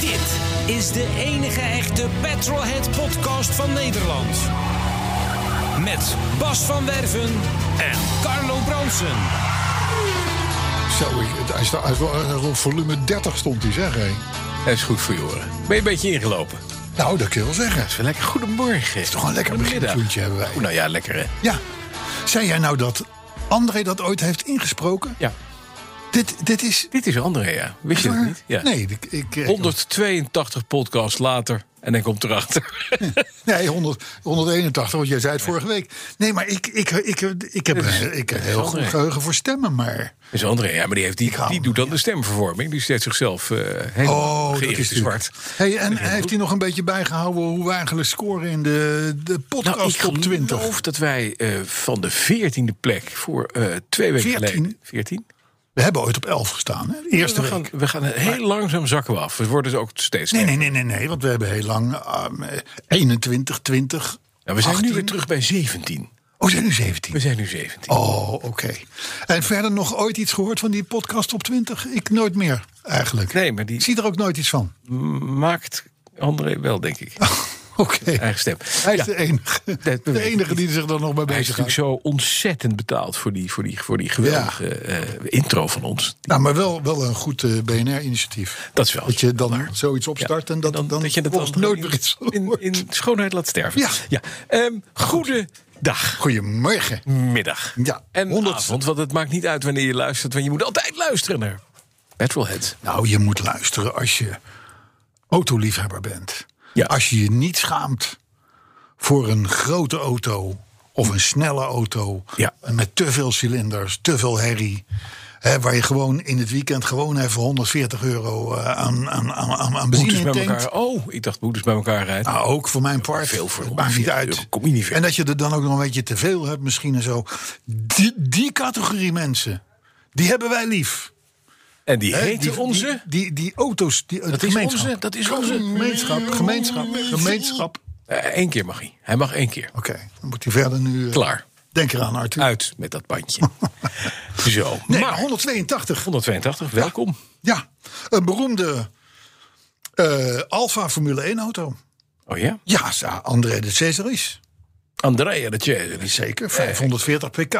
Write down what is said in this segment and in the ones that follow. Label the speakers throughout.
Speaker 1: Dit is de enige echte Petrolhead podcast van Nederland. Met Bas van Werven en Carlo Bronsen.
Speaker 2: Zo, ik, hij, sta, hij is wel ergens rond volume 30 stond hij, zeg hé.
Speaker 3: Dat is goed voor je oren. Ben je een beetje ingelopen? Dat
Speaker 2: Nou, dat kun je wel zeggen.
Speaker 3: is wel lekker. Goedemorgen.
Speaker 2: Toch een lekker begintoentje hebben wij.
Speaker 3: Oeh, nou ja, lekker hè.
Speaker 2: Ja, zei jij nou dat André dat ooit heeft ingesproken?
Speaker 3: Ja.
Speaker 2: Dit, dit is...
Speaker 3: Dit is André, ja. Wist je dat niet? Ja.
Speaker 2: Nee, ik... ik eh,
Speaker 3: 182 podcasts later en hij komt erachter.
Speaker 2: Nee, 100, 181, want jij zei het vorige week. Nee, maar ik, ik, ik, ik, heb, eh, ik heb heel goed
Speaker 3: André.
Speaker 2: geheugen voor stemmen, maar...
Speaker 3: is André, ja, maar die, heeft,
Speaker 2: hou
Speaker 3: die, die
Speaker 2: hem, Oh,
Speaker 3: doet dan de stemvervorming. Die zet zichzelf eh helemaal
Speaker 2: dat
Speaker 3: geëerd
Speaker 2: is
Speaker 3: in zwart.
Speaker 2: natuurlijk- Hey, en heeft hij nog een beetje bijgehouden hoe we eigenlijk scoren in de, de podcast
Speaker 3: Nou, ik
Speaker 2: top 20?
Speaker 3: geloof dat wij eh, van de 14e plek voor eh, twee weken
Speaker 2: 14?
Speaker 3: geleden... 14?
Speaker 2: We hebben ooit op 11 gestaan, hè? De eerste
Speaker 3: we,
Speaker 2: week.
Speaker 3: gaan, we gaan heel langzaam zakken we af. We worden dus ook steeds
Speaker 2: Nee,
Speaker 3: sterker.
Speaker 2: nee, nee, nee, nee, want we hebben heel lang ehm, eh, 21, 20.
Speaker 3: Nou, we zijn
Speaker 2: 18.
Speaker 3: nu weer terug bij 17.
Speaker 2: Oh, we zijn nu
Speaker 3: We
Speaker 2: 17.
Speaker 3: zijn nu 17.
Speaker 2: Oh, oké. En verder nog ooit iets gehoord van die podcast op 20? Ik nooit meer, eigenlijk.
Speaker 3: Nee, maar die
Speaker 2: Ik zie er ook nooit iets van.
Speaker 3: maakt André wel, denk
Speaker 2: Ah,
Speaker 3: ik.
Speaker 2: Oké.
Speaker 3: Eigen stem.
Speaker 2: Hij is
Speaker 3: Ja,
Speaker 2: de enige,
Speaker 3: weet
Speaker 2: de
Speaker 3: ik
Speaker 2: enige die zich er nog mee
Speaker 3: hij is
Speaker 2: bezig
Speaker 3: natuurlijk
Speaker 2: gaat.
Speaker 3: zo ontzettend betaald voor die, voor die, voor die geweldige eh, intro van ons.
Speaker 2: Nou, maar wel, wel een goed eh, BNR-initiatief.
Speaker 3: Dat is wel.
Speaker 2: Dat je dan zoiets opstart en dat, dan,
Speaker 3: je dat
Speaker 2: volgens
Speaker 3: dan
Speaker 2: nooit
Speaker 3: in-
Speaker 2: meer iets van
Speaker 3: in,
Speaker 2: hoort.
Speaker 3: in schoonheid laat sterven.
Speaker 2: Ja.
Speaker 3: ja. Ehm, goedendag.
Speaker 2: Goedemorgen.
Speaker 3: Middag.
Speaker 2: Ja,
Speaker 3: En
Speaker 2: honderdste.
Speaker 3: avond, want het maakt niet uit wanneer je luistert, want je moet altijd luisteren naar Petrolhead.
Speaker 2: Nou, je moet luisteren als je autoliefhebber bent.
Speaker 3: Ja.
Speaker 2: Als je je niet schaamt voor een grote auto of een snelle auto
Speaker 3: Ja.
Speaker 2: met te veel cilinders, te veel herrie. Hè, waar je gewoon in het weekend gewoon even 140 euro eh, aan, aan, aan, aan- aan
Speaker 3: Boetes
Speaker 2: benzine in
Speaker 3: bij
Speaker 2: tankt.
Speaker 3: elkaar. Oh, ik dacht boetes bij elkaar rijden.
Speaker 2: Nou, ook voor mijn part.
Speaker 3: Veel voor
Speaker 2: Het maakt niet
Speaker 3: 140
Speaker 2: uit.
Speaker 3: euro kom je niet ver.
Speaker 2: en dat je er dan ook nog een beetje te veel hebt, misschien en zo. Die, die categorie mensen, die hebben wij lief.
Speaker 3: en die
Speaker 2: Hè,
Speaker 3: heette
Speaker 2: die-
Speaker 3: onze.
Speaker 2: Die, die, die auto's. Die, dat
Speaker 3: is
Speaker 2: gemeenschap.
Speaker 3: onze, dat is onze.
Speaker 2: Gemeenschap, gemeenschap, gemeenschap.
Speaker 3: Eén Eh, keer mag hij. Hij mag één keer.
Speaker 2: Oké, dan moet hij verder nu... eh,
Speaker 3: Klaar.
Speaker 2: Denk eraan, Arthur.
Speaker 3: Uit met dat bandje. Zo.
Speaker 2: nee, maar
Speaker 3: maar
Speaker 2: 182.
Speaker 3: 182, welkom.
Speaker 2: Ja, een beroemde eh Alfa Formule 1 auto.
Speaker 3: Oh ja?
Speaker 2: Ja, sa- André de Cesaris.
Speaker 3: Andrea de Cesaris.
Speaker 2: Zeker, 540 pk,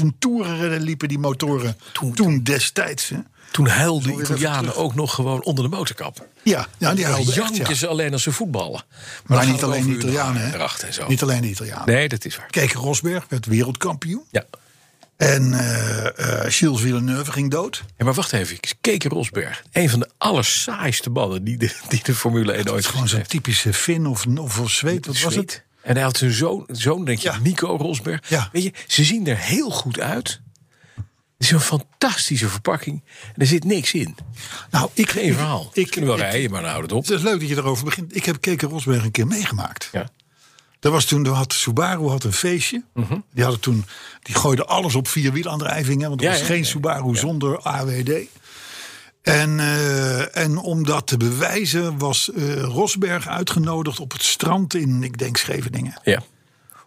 Speaker 2: 12.000 toeren liepen die motoren toen, destijds. Hè?
Speaker 3: Toen huilden
Speaker 2: weer even
Speaker 3: Italianen
Speaker 2: terug.
Speaker 3: ook nog gewoon onder de motorkap.
Speaker 2: Ja, ja, die
Speaker 3: Dan
Speaker 2: houden echt,
Speaker 3: janken
Speaker 2: ja.
Speaker 3: ze alleen als ze voetballen.
Speaker 2: Maar
Speaker 3: dan
Speaker 2: niet
Speaker 3: gaat het
Speaker 2: alleen de
Speaker 3: over hun
Speaker 2: Italianen,
Speaker 3: haar
Speaker 2: hè?
Speaker 3: erachter en zo.
Speaker 2: Niet alleen de Italianen.
Speaker 3: Nee, dat is waar.
Speaker 2: Kijk, Rosberg werd wereldkampioen.
Speaker 3: Ja.
Speaker 2: En eh eh Gilles Villeneuve ging dood.
Speaker 3: Ja, maar wacht even. Keke Rosberg. Een van de allersaaiste mannen die de, die de Formule 1 ooit
Speaker 2: Gewoon
Speaker 3: gezien
Speaker 2: zo'n
Speaker 3: heeft.
Speaker 2: typische Fin of, of een Zweed, wat was het?
Speaker 3: Zweed. En hij had zijn zoon, zoon denk je,
Speaker 2: Ja.
Speaker 3: Nico Rosberg.
Speaker 2: Ja.
Speaker 3: Weet je, ze zien er heel goed uit. Het is een fantastische verpakking. En er zit niks in.
Speaker 2: Nou, ik,
Speaker 3: Geen verhaal. Ik,
Speaker 2: Ik,
Speaker 3: kunnen wel
Speaker 2: ik-
Speaker 3: rijden, maar dan houd het op.
Speaker 2: het is leuk dat je daarover begint. Ik heb Keke Rosberg een keer meegemaakt.
Speaker 3: Ja.
Speaker 2: Dat was toen, er had, Subaru had een feestje.
Speaker 3: Mhm.
Speaker 2: Die hadden toen, die gooiden alles op vierwielaandrijving. Hè, want er
Speaker 3: Ja,
Speaker 2: was
Speaker 3: ja,
Speaker 2: geen
Speaker 3: ja.
Speaker 2: Subaru zonder AWD. En, eh, en om dat te bewijzen was eh, Rosberg uitgenodigd op het strand in, ik denk, Scheveningen.
Speaker 3: Ja.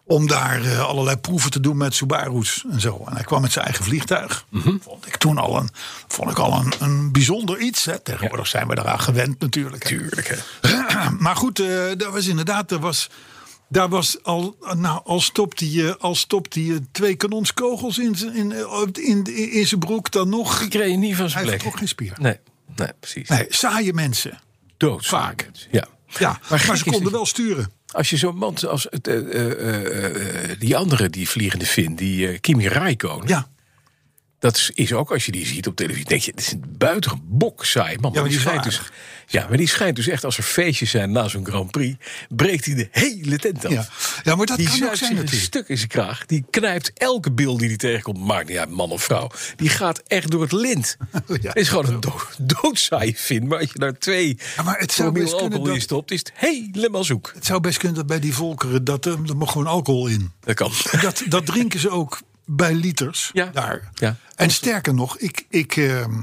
Speaker 2: om daar eh, allerlei proeven te doen met Subaru's en zo. En hij kwam met zijn eigen vliegtuig.
Speaker 3: Mhm.
Speaker 2: Vond ik toen al een, vond ik al een, een bijzonder iets. Hè. Tegenwoordig zijn we daaraan gewend natuurlijk. hè.
Speaker 3: Tuurlijk. Hè.
Speaker 2: Maar goed, eh dat was inderdaad, daar was, daar was al, nou, al stopte je, al stopte je twee kanonskogels in zijn in, eh, in, in, in zijn broek, dan nog.
Speaker 3: Ik reed niet van zijn
Speaker 2: Hij
Speaker 3: plek.
Speaker 2: vertrok geen spier.
Speaker 3: Nee, nee precies.
Speaker 2: Nee, saaie mensen.
Speaker 3: Dood.
Speaker 2: Vaak.
Speaker 3: Ja.
Speaker 2: Ja, maar,
Speaker 3: gek is
Speaker 2: ze
Speaker 3: dat
Speaker 2: konden
Speaker 3: je-
Speaker 2: wel sturen.
Speaker 3: Als je zo'n man als het, eh, eh, eh, eh, die andere, die vliegende Finn, die eh, Kimi Räikkönen.
Speaker 2: Ja.
Speaker 3: Dat is, is ook, als je die ziet op televisie, denk je, het is een buitengewoon bok saai. Man,
Speaker 2: maar die is
Speaker 3: schijnt
Speaker 2: wel
Speaker 3: dus, ja, maar die schijnt dus echt als er feestjes zijn na zo'n Grand Prix, breekt hij de hele tent af.
Speaker 2: Ja. Ja, maar dat
Speaker 3: die
Speaker 2: kan ook zijn
Speaker 3: zuigt zich een
Speaker 2: natuurlijk.
Speaker 3: stuk in zijn kraag. Die knijpt elke bil die hij tegenkomt, maakt niet uit man of vrouw. Die gaat echt door het lint. Het is gewoon een do doodsaai vind, maar als je daar twee
Speaker 2: Ja, maar het zou
Speaker 3: promille
Speaker 2: best kunnen
Speaker 3: alcohol in
Speaker 2: dat-
Speaker 3: stopt, is het helemaal zoek.
Speaker 2: Het zou best kunnen dat bij die volkeren, dat, eh, er mag gewoon alcohol in.
Speaker 3: Dat kan.
Speaker 2: Dat, dat drinken ze ook bij liters
Speaker 3: Ja.
Speaker 2: daar.
Speaker 3: Ja.
Speaker 2: En sterker nog, ik, ik, ehm,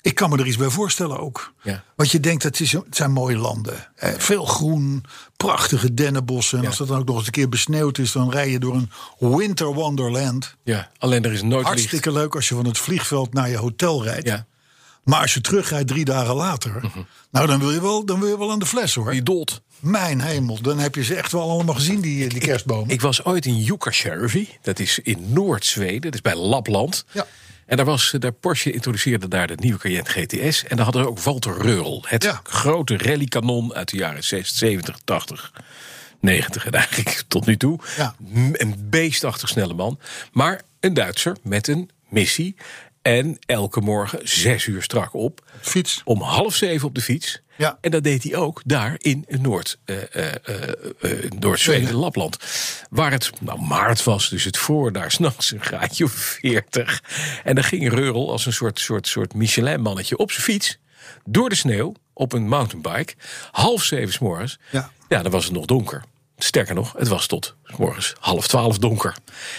Speaker 2: ik kan me er iets bij voorstellen ook.
Speaker 3: Ja.
Speaker 2: Want je denkt, het, is, het zijn mooie landen. Eh, veel groen, prachtige dennenbossen. En als dat dan ook nog eens een keer besneeuwd is... dan rij je door een winter wonderland.
Speaker 3: Ja, alleen er is nooit licht.
Speaker 2: Hartstikke leuk als je van het vliegveld naar je hotel rijdt.
Speaker 3: Ja, Mhm.
Speaker 2: Maar als je terugrijdt drie dagen later... nou, dan wil, je wel, dan wil je wel aan de fles, hoor.
Speaker 3: die dood.
Speaker 2: Mijn hemel, dan heb je ze echt wel allemaal gezien, die, die kerstbomen.
Speaker 3: Ik was ooit in Jukkasjärvi, dat is in Noord-Zweden, dat is bij Lapland.
Speaker 2: Ja.
Speaker 3: En daar was, eh, daar Porsche introduceerde daar de nieuwe Cayenne GTS. En daar hadden ze ook Walter Reurl, het
Speaker 2: Ja.
Speaker 3: grote rallykanon uit de jaren 60, 70, 80, 90 en eigenlijk tot nu toe.
Speaker 2: Ja.
Speaker 3: M- Een beestachtig snelle man, maar een Duitser met een missie. En elke morgen zes uur strak op.
Speaker 2: Fiets.
Speaker 3: Om half zeven op de fiets.
Speaker 2: Ja.
Speaker 3: En dat deed hij ook daar in Noord, eh eh, eh, eh, Noord-Zweden,
Speaker 2: Zweden.
Speaker 3: Lapland. Waar het nou, maart was, dus het voor daar s'nachts een graadje of 40. En dan ging Reurel als een soort, soort, soort Michelin-mannetje op zijn fiets. Door de sneeuw op een mountainbike. Half zeven 's morgens.
Speaker 2: Ja.
Speaker 3: ja, dan was het nog donker. Sterker nog, het was tot 's morgens half twaalf donker.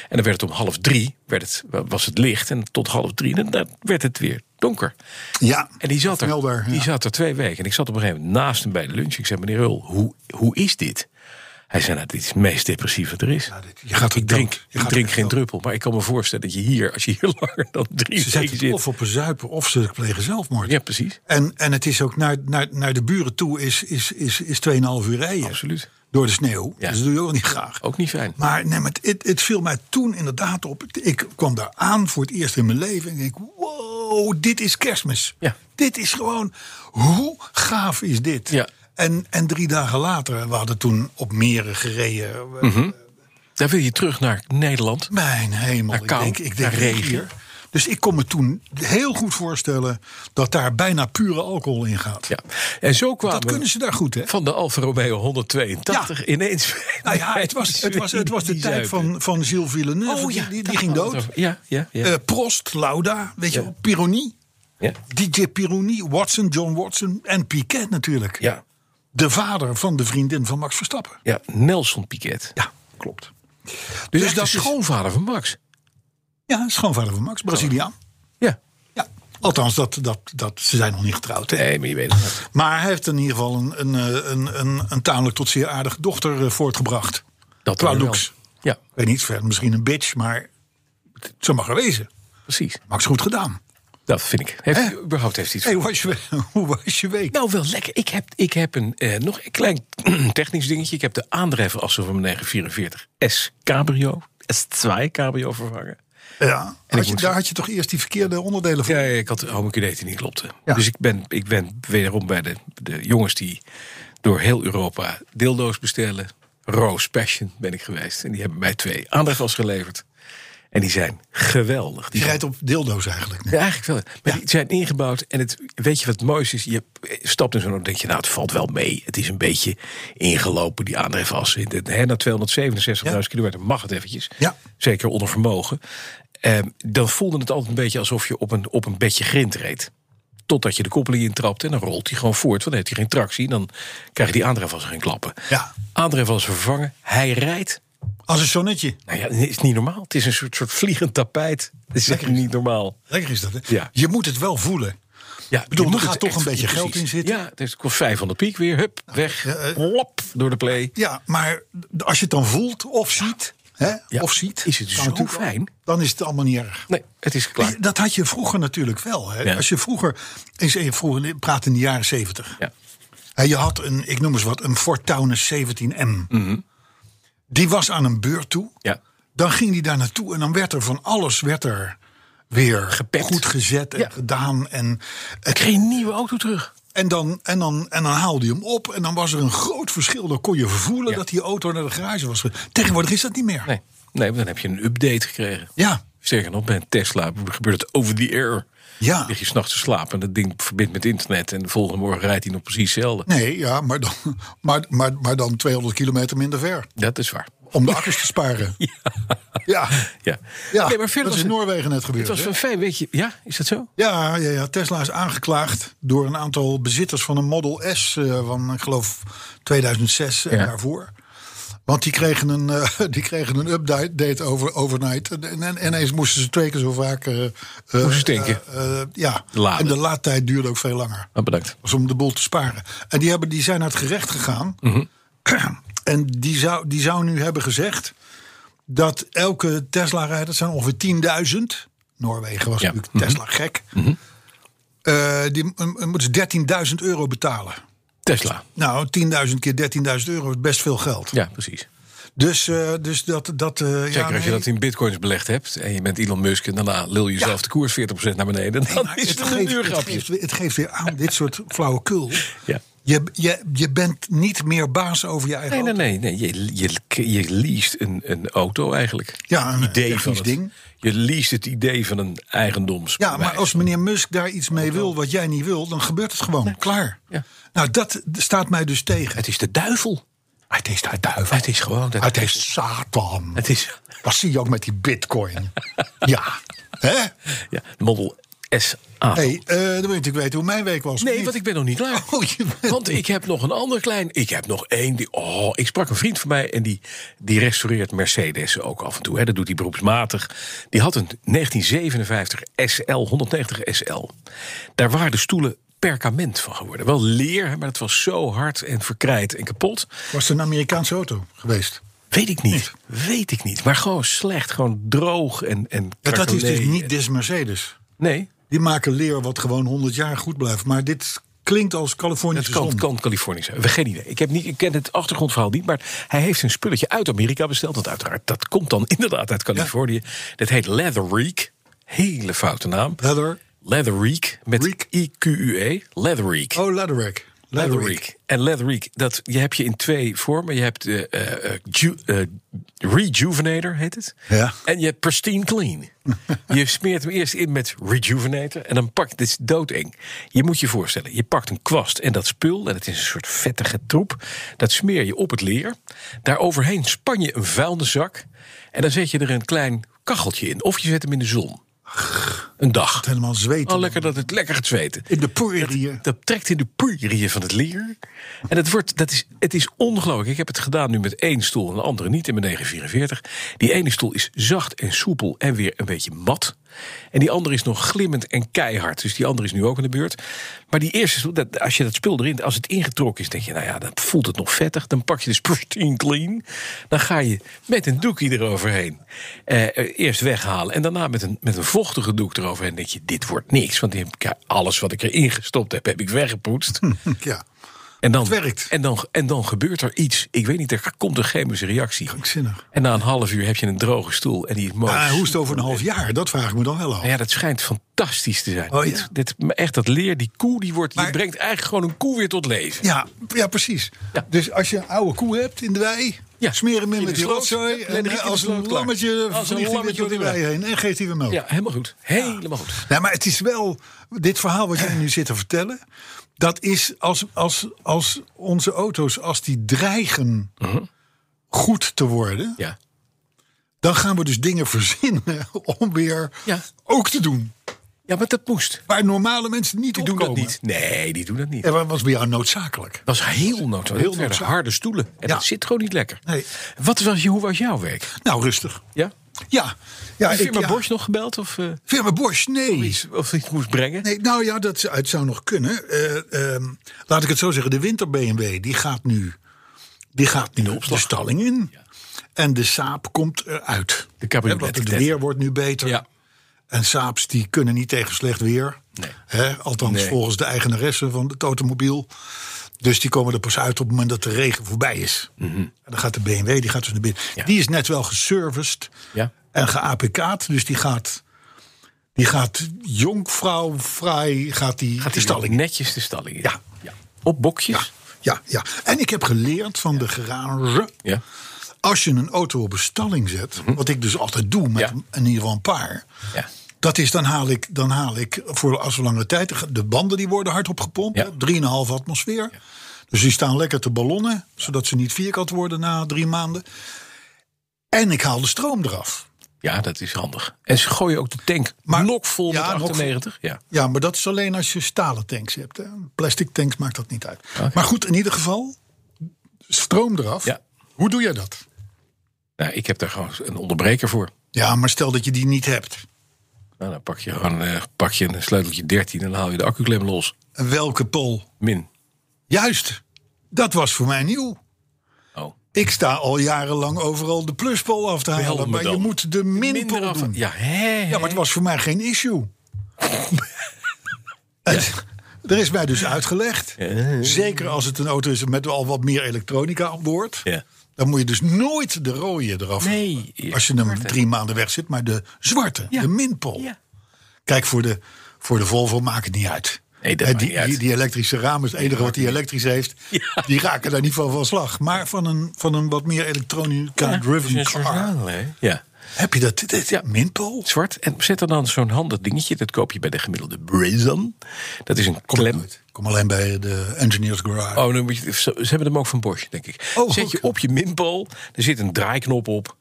Speaker 3: En dan werd het om half drie, werd het, was het licht. En tot half drie, dan- dan werd het weer donker.
Speaker 2: Ja,
Speaker 3: En die zat, er,
Speaker 2: Melder,
Speaker 3: die
Speaker 2: ja.
Speaker 3: zat er twee weken. En ik zat op een gegeven moment naast hem bij de lunch. Ik zei, meneer Hul, hoe, hoe is dit? Hij zei, nou, dit is het meest depressief wat er is.
Speaker 2: dit- je gaat er
Speaker 3: ik drink,
Speaker 2: dood. Je
Speaker 3: ik
Speaker 2: gaat
Speaker 3: drink
Speaker 2: er
Speaker 3: geen
Speaker 2: dood.
Speaker 3: druppel. Maar ik kan me voorstellen dat je hier, als je hier langer dan drie
Speaker 2: ze
Speaker 3: weken
Speaker 2: zetten het
Speaker 3: zit...
Speaker 2: of op een zuipen of ze plegen zelfmoord.
Speaker 3: Ja, precies.
Speaker 2: En, en het is ook naar, naar, naar de buren toe is, is, is, is 2,5 uur rijden.
Speaker 3: Absoluut.
Speaker 2: Door de sneeuw.
Speaker 3: Ja. Oh.
Speaker 2: Dus dat doe je ook niet graag.
Speaker 3: Ook niet fijn.
Speaker 2: Maar nee, maar het, het viel mij toen inderdaad op. Ik kwam daar aan voor het eerst in mijn leven. En ik denk, wow, dit is kerstmis.
Speaker 3: Ja.
Speaker 2: Dit is gewoon, hoe gaaf is dit?
Speaker 3: Ja.
Speaker 2: En, en drie dagen later, we hadden toen op meren gereden. We-
Speaker 3: Mhm. Daar wil je terug naar Nederland.
Speaker 2: Mijn hemel,
Speaker 3: Naar kou,
Speaker 2: ik denk, ik
Speaker 3: naar
Speaker 2: denk
Speaker 3: regen.
Speaker 2: hier. Dus ik kon me toen heel goed voorstellen dat daar bijna pure alcohol in gaat.
Speaker 3: Ja. En zo kwamen
Speaker 2: Dat kunnen
Speaker 3: we
Speaker 2: ze daar goed, hè?
Speaker 3: van de Alfa Romeo 182
Speaker 2: Ja.
Speaker 3: ineens...
Speaker 2: Nou ja, het was, het was, het was de
Speaker 3: Die
Speaker 2: tijd
Speaker 3: zuipen.
Speaker 2: van, van Gilles Villeneuve.
Speaker 3: Oh ja,
Speaker 2: die, die,
Speaker 3: daar
Speaker 2: ging
Speaker 3: hadden we
Speaker 2: dood.
Speaker 3: het over. Ja, ja, ja.
Speaker 2: Eh, Prost, Lauda, weet je
Speaker 3: Ja.
Speaker 2: wel, Pironi.
Speaker 3: ja.
Speaker 2: DJ Pironi, Watson, John Watson en Piquet natuurlijk.
Speaker 3: ja.
Speaker 2: De vader van de vriendin van Max Verstappen.
Speaker 3: Ja, Nelson Piquet.
Speaker 2: Ja, klopt.
Speaker 3: Dus,
Speaker 2: Dus
Speaker 3: dat
Speaker 2: dat
Speaker 3: is de
Speaker 2: is-
Speaker 3: schoonvader van Max.
Speaker 2: Ja, schoonvader van Max, Braziliaan.
Speaker 3: Ja.
Speaker 2: Ja. Althans, dat, dat, dat, ze zijn nog niet getrouwd. Hè?
Speaker 3: Nee, maar je weet het niet.
Speaker 2: Maar hij heeft in ieder geval een, een, eh, een, een, een tamelijk tot zeer aardige dochter eh, voortgebracht.
Speaker 3: Dat
Speaker 2: Qua
Speaker 3: dan wel.
Speaker 2: looks.
Speaker 3: Ja,
Speaker 2: Ik weet niet, verder misschien een bitch, maar het- ze mag er wezen.
Speaker 3: precies.
Speaker 2: Max goed gedaan.
Speaker 3: Dat vind ik. Heeft,
Speaker 2: Hè?
Speaker 3: Überhaupt heeft hij iets
Speaker 2: Hey, hoe, was je, hoe was je week?
Speaker 3: Nou, wel lekker. Ik heb, ik heb een, eh, nog een klein technisch dingetje. Ik heb de aandrijfrassen van mijn 944S Cabrio, S2 Cabrio vervangen.
Speaker 2: Ja, had je,
Speaker 3: moet-
Speaker 2: daar had je toch eerst die verkeerde onderdelen van?
Speaker 3: Ja, ja, ik had de homoculeet die niet klopte.
Speaker 2: Ja.
Speaker 3: Dus ik ben, ik ben wederom bij de, de jongens die door heel Europa dildo's bestellen. Rose Passion ben ik geweest. En die hebben mij twee aandrijfrassen geleverd. En die zijn geweldig. Die
Speaker 2: Je
Speaker 3: zijn
Speaker 2: rijdt op dildo's eigenlijk. Nee.
Speaker 3: Ja, eigenlijk wel. Maar die zijn ingebouwd. En het, weet je wat het mooiste is? Je stapt in zo'n auto en denk je, nou, het valt wel mee. Het is een beetje ingelopen, die aandrijfas. Hè, na 267.000
Speaker 2: Ja.
Speaker 3: kilometer mag het eventjes.
Speaker 2: Ja.
Speaker 3: Zeker onder vermogen. Ehm, dan voelde het altijd een beetje alsof je op een, op een bedje grind reed. Totdat je de koppeling intrapt en dan rolt hij gewoon voort. Want dan heeft hij geen tractie. Dan krijg je die aandrijfas geen klappen.
Speaker 2: Ja.
Speaker 3: Aandrijfas vervangen. Hij rijdt
Speaker 2: Als een zonnetje.
Speaker 3: nou ja, het is niet normaal. Het is een soort, soort vliegend tapijt. Het is echt niet normaal.
Speaker 2: Lekker is dat, hè?
Speaker 3: Ja.
Speaker 2: Je moet het wel voelen.
Speaker 3: Ja,
Speaker 2: bedoel,
Speaker 3: je
Speaker 2: er
Speaker 3: moet
Speaker 2: gaat
Speaker 3: het
Speaker 2: toch
Speaker 3: echt
Speaker 2: een
Speaker 3: voor-
Speaker 2: beetje
Speaker 3: precies.
Speaker 2: geld in zitten.
Speaker 3: Ja, het is- het kost 500 piek weer. Hup, weg.
Speaker 2: eh,
Speaker 3: Lop, door de play.
Speaker 2: Ja, maar als je het dan voelt of ziet, hè,
Speaker 3: Ja.
Speaker 2: of ziet
Speaker 3: Is het
Speaker 2: kan
Speaker 3: zo
Speaker 2: natuurlijk-
Speaker 3: fijn?
Speaker 2: Dan is het allemaal niet erg.
Speaker 3: Nee, het is klaar.
Speaker 2: Dat had je vroeger natuurlijk wel. Hè?
Speaker 3: Ja.
Speaker 2: Als je vroeger, eens even vroeger, ik praat in de jaren 70.
Speaker 3: Ja.
Speaker 2: Hè, Je had een, ik noem eens wat, een Ford Taunus 17M. Die was aan een beurt toe.
Speaker 3: Mhm. Ja.
Speaker 2: Dan ging die daar naartoe en dan werd er van alles werd er weer
Speaker 3: Gepept.
Speaker 2: goed gezet en
Speaker 3: Ja.
Speaker 2: gedaan. En, het-
Speaker 3: Kreeg een nieuwe auto terug.
Speaker 2: en, dan, en, dan, en dan haalde je hem op en dan was er een groot verschil. Dan kon je voelen
Speaker 3: Ja.
Speaker 2: dat die auto naar de garage was. ge- Tegenwoordig is dat niet meer.
Speaker 3: Nee, nee, want dan heb je een update gekregen.
Speaker 2: Ja,
Speaker 3: Zeker nog, bij een Tesla gebeurt het over the air.
Speaker 2: Ja.
Speaker 3: Lig je s'nachts te slapen en dat ding verbindt met internet. En de volgende morgen rijdt hij nog precies hetzelfde.
Speaker 2: Nee, ja, maar dan, maar, maar, maar dan 200 kilometer minder ver.
Speaker 3: Dat is waar.
Speaker 2: Om de akkers te sparen. Ja, ja.
Speaker 3: Ja.
Speaker 2: nee, maar dat is in
Speaker 3: het,
Speaker 2: Noorwegen net gebeurd.
Speaker 3: het was
Speaker 2: hè?
Speaker 3: een fijn, weet je. Ja, is dat zo?
Speaker 2: Ja, ja, ja, Tesla is aangeklaagd door een aantal bezitters van een Model S eh, van, ik geloof, 2006 en
Speaker 3: Ja.
Speaker 2: daarvoor. Want die kregen een, eh, die kregen een update over overnight. En, en, en ineens moesten ze twee keer zo vaak. eh, eh,
Speaker 3: Moesten tanken.
Speaker 2: eh, eh, ja,
Speaker 3: Laden.
Speaker 2: en de laadtijd duurde ook veel langer.
Speaker 3: Ah, bedankt.
Speaker 2: was om de boel te sparen. En die, hebben, die zijn naar het gerecht gegaan.
Speaker 3: Mhm.
Speaker 2: En die zou, die zou nu hebben gezegd dat elke Tesla-rijder, dat zijn ongeveer 10.000. Noorwegen was
Speaker 3: Ja. Mhm.
Speaker 2: natuurlijk Tesla gek. Eh, die m- m- moeten ze 13.000 euro betalen.
Speaker 3: Tesla.
Speaker 2: Nou, 10.000 keer 13.000 euro is best veel geld.
Speaker 3: Ja, precies.
Speaker 2: Dus, eh, dus dat. dat eh, ja,
Speaker 3: Zeker als je
Speaker 2: nee.
Speaker 3: dat in bitcoins belegd hebt en je bent Elon Musk en daarna lul je zelf de koers 40% naar beneden. Dan
Speaker 2: Maar
Speaker 3: is het een
Speaker 2: het,
Speaker 3: duurgrapje.
Speaker 2: geeft, het geeft weer aan, dit soort flauwekul.
Speaker 3: Ja.
Speaker 2: Je, je, je bent niet meer baas over je eigen
Speaker 3: Nee, nee,
Speaker 2: auto.
Speaker 3: nee. nee. Je, je, je leest een, een auto eigenlijk.
Speaker 2: Ja, een
Speaker 3: idee van
Speaker 2: technisch
Speaker 3: het,
Speaker 2: ding.
Speaker 3: Je leest het idee van een eigendoms.
Speaker 2: Ja, maar als meneer Musk daar iets mee wil wat jij niet wil, dan gebeurt het gewoon. Klaar.
Speaker 3: Ja.
Speaker 2: Nou, dat staat mij dus tegen.
Speaker 3: Het is de duivel.
Speaker 2: Het is de duivel.
Speaker 3: Het is gewoon de-
Speaker 2: Het is Satan.
Speaker 3: Het is
Speaker 2: Dat zie je ook met die bitcoin. ja. Hè?
Speaker 3: ja, Model SA.
Speaker 2: hey, eh, dan wil je natuurlijk weten hoe mijn week was.
Speaker 3: Nee,
Speaker 2: Niet?
Speaker 3: want ik ben nog niet klaar.
Speaker 2: Oh, je bent-
Speaker 3: Want ik heb nog een ander klein. Ik heb nog één. Die, oh, ik sprak een vriend van mij en die, die restaureert Mercedes ook af en toe. Hè. Dat doet hij beroepsmatig. Die had een 1957 SL, 190 SL. Daar waren de stoelen perkament van geworden. Wel leer, hè, maar het was zo hard en verkrijt en kapot.
Speaker 2: Was het een Amerikaanse auto geweest?
Speaker 3: Weet ik niet. Weet ik niet. Maar gewoon slecht. Gewoon droog en. en
Speaker 2: Ja, dat is dus
Speaker 3: krakelee
Speaker 2: niet
Speaker 3: en-
Speaker 2: des Mercedes.
Speaker 3: Nee,
Speaker 2: Die maken leer wat gewoon 100 jaar goed blijft. Maar dit klinkt als
Speaker 3: Het
Speaker 2: Californische
Speaker 3: kan,
Speaker 2: zon.
Speaker 3: kan Californië zijn. We- Geen idee. Ik, heb niet, ik ken het achtergrondverhaal niet. Maar hij heeft een spulletje uit Amerika besteld. Want uiteraard, dat komt dan inderdaad uit Californië. Dat heet Leatherick. Hele foute naam.
Speaker 2: Leather.
Speaker 3: Leatherick. Met
Speaker 2: Reek.
Speaker 3: I-Q-U-E. Leatherick.
Speaker 2: Oh, Leatherick.
Speaker 3: Leatherick. En Leatherick, dat je heb je in twee vormen. Je hebt eh, eh, eh, ju- eh, Rejuvenator, heet het.
Speaker 2: Ja.
Speaker 3: En je hebt Pristine Clean. je smeert hem eerst in met Rejuvenator. En dan pak dit is doodeng. Je moet je voorstellen, je pakt een kwast en dat spul... en het is een soort vettige troep, dat smeer je op het leer. Daaroverheen span je een vuilniszak... en dan zet je er een klein kacheltje in. Of je zet hem in de zon. Een dag.
Speaker 2: Helemaal zweten.
Speaker 3: Al Oh, lekker dat het lekker gaat zweten.
Speaker 2: In de poeriën.
Speaker 3: Dat trekt in de poeierieën van het leer. En het, wordt, dat is, het is ongelooflijk. Ik heb het gedaan nu met één stoel en de andere niet in mijn 944. Die ene stoel is zacht en soepel en weer een beetje mat. En die andere is nog glimmend en keihard. Dus die andere is nu ook aan de beurt. Maar die eerste stoel, dat, als je dat spul erin, als het ingetrokken is, denk je, nou ja, dan voelt het nog vettig. Dan pak je de pristine clean. Dan ga je met een doekje eroverheen. Eh, eh, eerst weghalen en daarna met een, met een vochtige doek eroverheen. denk je, dit wordt niks. Want die heb ik- alles wat ik erin gestopt heb, heb ik weggepoetst.
Speaker 2: Ja.
Speaker 3: En dan,
Speaker 2: Hm, Het werkt.
Speaker 3: En dan, en dan gebeurt er iets. Ik weet niet, er komt een chemische reactie.
Speaker 2: Krankzinnig.
Speaker 3: En na een half uur heb je een droge stoel en die is mooi.
Speaker 2: Maar hoe is het Ah, over een half jaar? Dat vraag ik me dan wel af.
Speaker 3: Nou ja, dat schijnt fantastisch te zijn.
Speaker 2: Oh, ja.
Speaker 3: dit, dit, maar echt dat leer, die koe, die wordt, je
Speaker 2: Maar-
Speaker 3: brengt eigenlijk gewoon een koe weer tot leven.
Speaker 2: Ja, ja precies.
Speaker 3: Ja.
Speaker 2: Dus als je een oude koe hebt in de wei,
Speaker 3: Ja.
Speaker 2: smeer hem in
Speaker 3: In de
Speaker 2: met die
Speaker 3: sloot.
Speaker 2: rotzooi.
Speaker 3: Ja, en dan
Speaker 2: En eh,
Speaker 3: riekt hij
Speaker 2: als
Speaker 3: de sloot
Speaker 2: een
Speaker 3: klaar.
Speaker 2: lammetje
Speaker 3: Als een
Speaker 2: vliegt hij weer
Speaker 3: lammetje
Speaker 2: door de
Speaker 3: door de
Speaker 2: wei heen en geeft hij weer melk.
Speaker 3: Ja, helemaal goed. Helemaal goed.
Speaker 2: Nou, maar het is wel, dit verhaal wat jij nu zit te vertellen, dat is als, als, als onze auto's, als die dreigen goed te worden,
Speaker 3: Mhm. Ja.
Speaker 2: dan gaan we dus dingen verzinnen om weer
Speaker 3: Ja.
Speaker 2: ook te doen.
Speaker 3: ja, maar dat moest.
Speaker 2: Waar normale mensen niet
Speaker 3: Die
Speaker 2: op
Speaker 3: doen dat
Speaker 2: komen.
Speaker 3: niet. Nee, die doen dat niet.
Speaker 2: En wat was bij jou noodzakelijk?
Speaker 3: Dat was heel noodzaak. Heel
Speaker 2: noodzaak.
Speaker 3: Harde stoelen. En
Speaker 2: Ja.
Speaker 3: dat zit gewoon niet lekker.
Speaker 2: Nee.
Speaker 3: Wat was, je- hoe was jouw week?
Speaker 2: Nou, rustig.
Speaker 3: Ja?
Speaker 2: Ja, ja
Speaker 3: Ja,
Speaker 2: ik-
Speaker 3: firma
Speaker 2: ja.
Speaker 3: Bosch nog gebeld of, eh,
Speaker 2: Firma Bosch, nee.
Speaker 3: iets, of iets moest brengen?
Speaker 2: Nee, nou ja, dat zou- het zou nog kunnen. Eh, ehm, laat ik het zo zeggen, de winter BMW die gaat nu, die gaat nu de, stalling in. En de Saab komt eruit.
Speaker 3: De cabriolet.
Speaker 2: Hè, want het weer wordt nu beter.
Speaker 3: Ja.
Speaker 2: En Saabs die kunnen niet tegen slecht weer.
Speaker 3: Nee.
Speaker 2: Hè, althans,
Speaker 3: Nee.
Speaker 2: volgens de eigenaresse van het automobiel. Dus die komen er pas uit op het moment dat de regen voorbij is. En dan gaat de BMW, die gaat dus naar binnen.
Speaker 3: Mhm. Ja.
Speaker 2: Die is net wel geserviced
Speaker 3: Ja.
Speaker 2: en geapk'd. Dus die gaat, die gaat jonkvrouw vrij, gaat die,
Speaker 3: Gaat
Speaker 2: de
Speaker 3: die
Speaker 2: stalling in.
Speaker 3: netjes de stalling in?
Speaker 2: Ja.
Speaker 3: Op bokjes?
Speaker 2: ja, ja. En ik heb geleerd van de garage.
Speaker 3: Ja.
Speaker 2: Als je een auto op een stalling zet, wat ik dus altijd doe met
Speaker 3: Mhm. Ja.
Speaker 2: in ieder geval een paar.
Speaker 3: Ja.
Speaker 2: Dat is, dan haal ik, dan haal ik voor als we langere tijd. De banden die worden hardop gepompt.
Speaker 3: Ja.
Speaker 2: hè, 3,5 atmosfeer. Dus die staan lekker te ballonnen, zodat ze niet vierkant worden na drie maanden. En ik haal de stroom eraf.
Speaker 3: ja, dat is handig. En ze gooien ook de tank
Speaker 2: Maar-
Speaker 3: lokvol
Speaker 2: Ja,
Speaker 3: met
Speaker 2: lokvol.
Speaker 3: 98. Ja.
Speaker 2: Ja, maar dat is alleen als je stalen tanks hebt. Hè. Plastic tanks maakt dat niet uit.
Speaker 3: Oké.
Speaker 2: Maar goed, in ieder geval, stroom eraf.
Speaker 3: Ja.
Speaker 2: Hoe doe jij dat?
Speaker 3: Nou, ik heb daar gewoon een onderbreker voor.
Speaker 2: Ja, maar stel dat je die niet hebt.
Speaker 3: Nou, dan pak je gewoon eh, pak je een sleuteltje 13 en dan haal je de accuklem los.
Speaker 2: En welke pol?
Speaker 3: Min.
Speaker 2: Juist, dat was voor mij nieuw.
Speaker 3: Oh.
Speaker 2: Ik sta al jarenlang overal de pluspol af te halen.
Speaker 3: me
Speaker 2: Maar je
Speaker 3: dan.
Speaker 2: moet de
Speaker 3: Minder
Speaker 2: minpol
Speaker 3: af.
Speaker 2: doen.
Speaker 3: Ja, hè,
Speaker 2: Ja, maar het was voor mij geen issue. Het- er is mij dus uitgelegd. Zeker als het een auto is met al wat meer elektronica aan boord.
Speaker 3: Ja.
Speaker 2: Dan moet je dus nooit de rode eraf.
Speaker 3: Nee.
Speaker 2: Als je hem drie maanden weg zit, maar de zwarte,
Speaker 3: Ja.
Speaker 2: de minpol.
Speaker 3: Ja.
Speaker 2: Kijk, voor de, voor de Volvo maakt het niet uit.
Speaker 3: Nee, dat
Speaker 2: Hè,
Speaker 3: maakt
Speaker 2: die,
Speaker 3: niet uit.
Speaker 2: Die, die elektrische ramen, het enige wat die elektrisch heeft,
Speaker 3: Ja.
Speaker 2: die raken daar niet van van slag. Maar van een, van een wat meer elektronica-driven
Speaker 3: Ja,
Speaker 2: car.
Speaker 3: Ja.
Speaker 2: Heb je dat? Dit,
Speaker 3: Ja.
Speaker 2: Minpol?
Speaker 3: Zwart. En zet er dan zo'n handig dingetje. Dat koop je bij de gemiddelde Brizon. Dat is een klem.
Speaker 2: Nooit. Kom alleen bij de Engineers Garage.
Speaker 3: Oh, dan moet je, ze ze hebben hem ook van Bosch, denk ik.
Speaker 2: Oh,
Speaker 3: zet
Speaker 2: goed.
Speaker 3: je op je minpol, er zit een draaiknop op.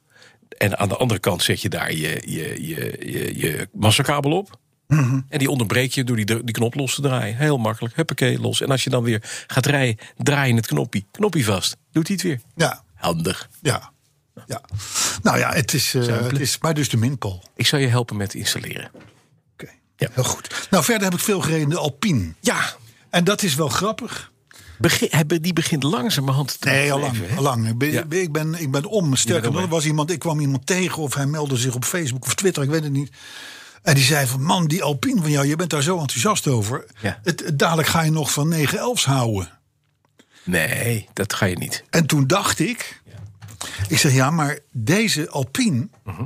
Speaker 3: En aan de andere kant zet je daar je, je, je, je, je massakabel op.
Speaker 2: Mhm.
Speaker 3: En die onderbreek je door die, dr- die knop los te draaien. Heel makkelijk, huppakee, los. En als je dan weer gaat rijden, draai je het knoppie. Knoppie vast, doet hij het weer.
Speaker 2: Ja,
Speaker 3: Handig.
Speaker 2: ja, ja. Nou ja, het is, eh, het is maar dus de Minpol.
Speaker 3: Ik zal je helpen met installeren.
Speaker 2: Oké,
Speaker 3: Ja.
Speaker 2: Heel goed. Nou, verder heb ik veel gereden in de Alpine.
Speaker 3: Ja,
Speaker 2: En dat is wel grappig.
Speaker 3: begin, hij be- die begint langzamerhand te
Speaker 2: Nee, al
Speaker 3: bedrijven, hè?
Speaker 2: lang. Al lang. Ik, ben,
Speaker 3: Ja.
Speaker 2: ik, ben, ik ben om. Sterker nog, er was iemand, ik kwam iemand tegen of hij meldde zich op Facebook of Twitter, ik weet het niet. En die zei van, man, die Alpine van jou, je bent daar zo enthousiast over.
Speaker 3: Ja.
Speaker 2: Het, het- dadelijk ga je nog van 9-11's houden.
Speaker 3: Nee, dat ga je niet.
Speaker 2: En toen dacht ik, ik zeg ja, maar deze Alpine
Speaker 3: Mhm.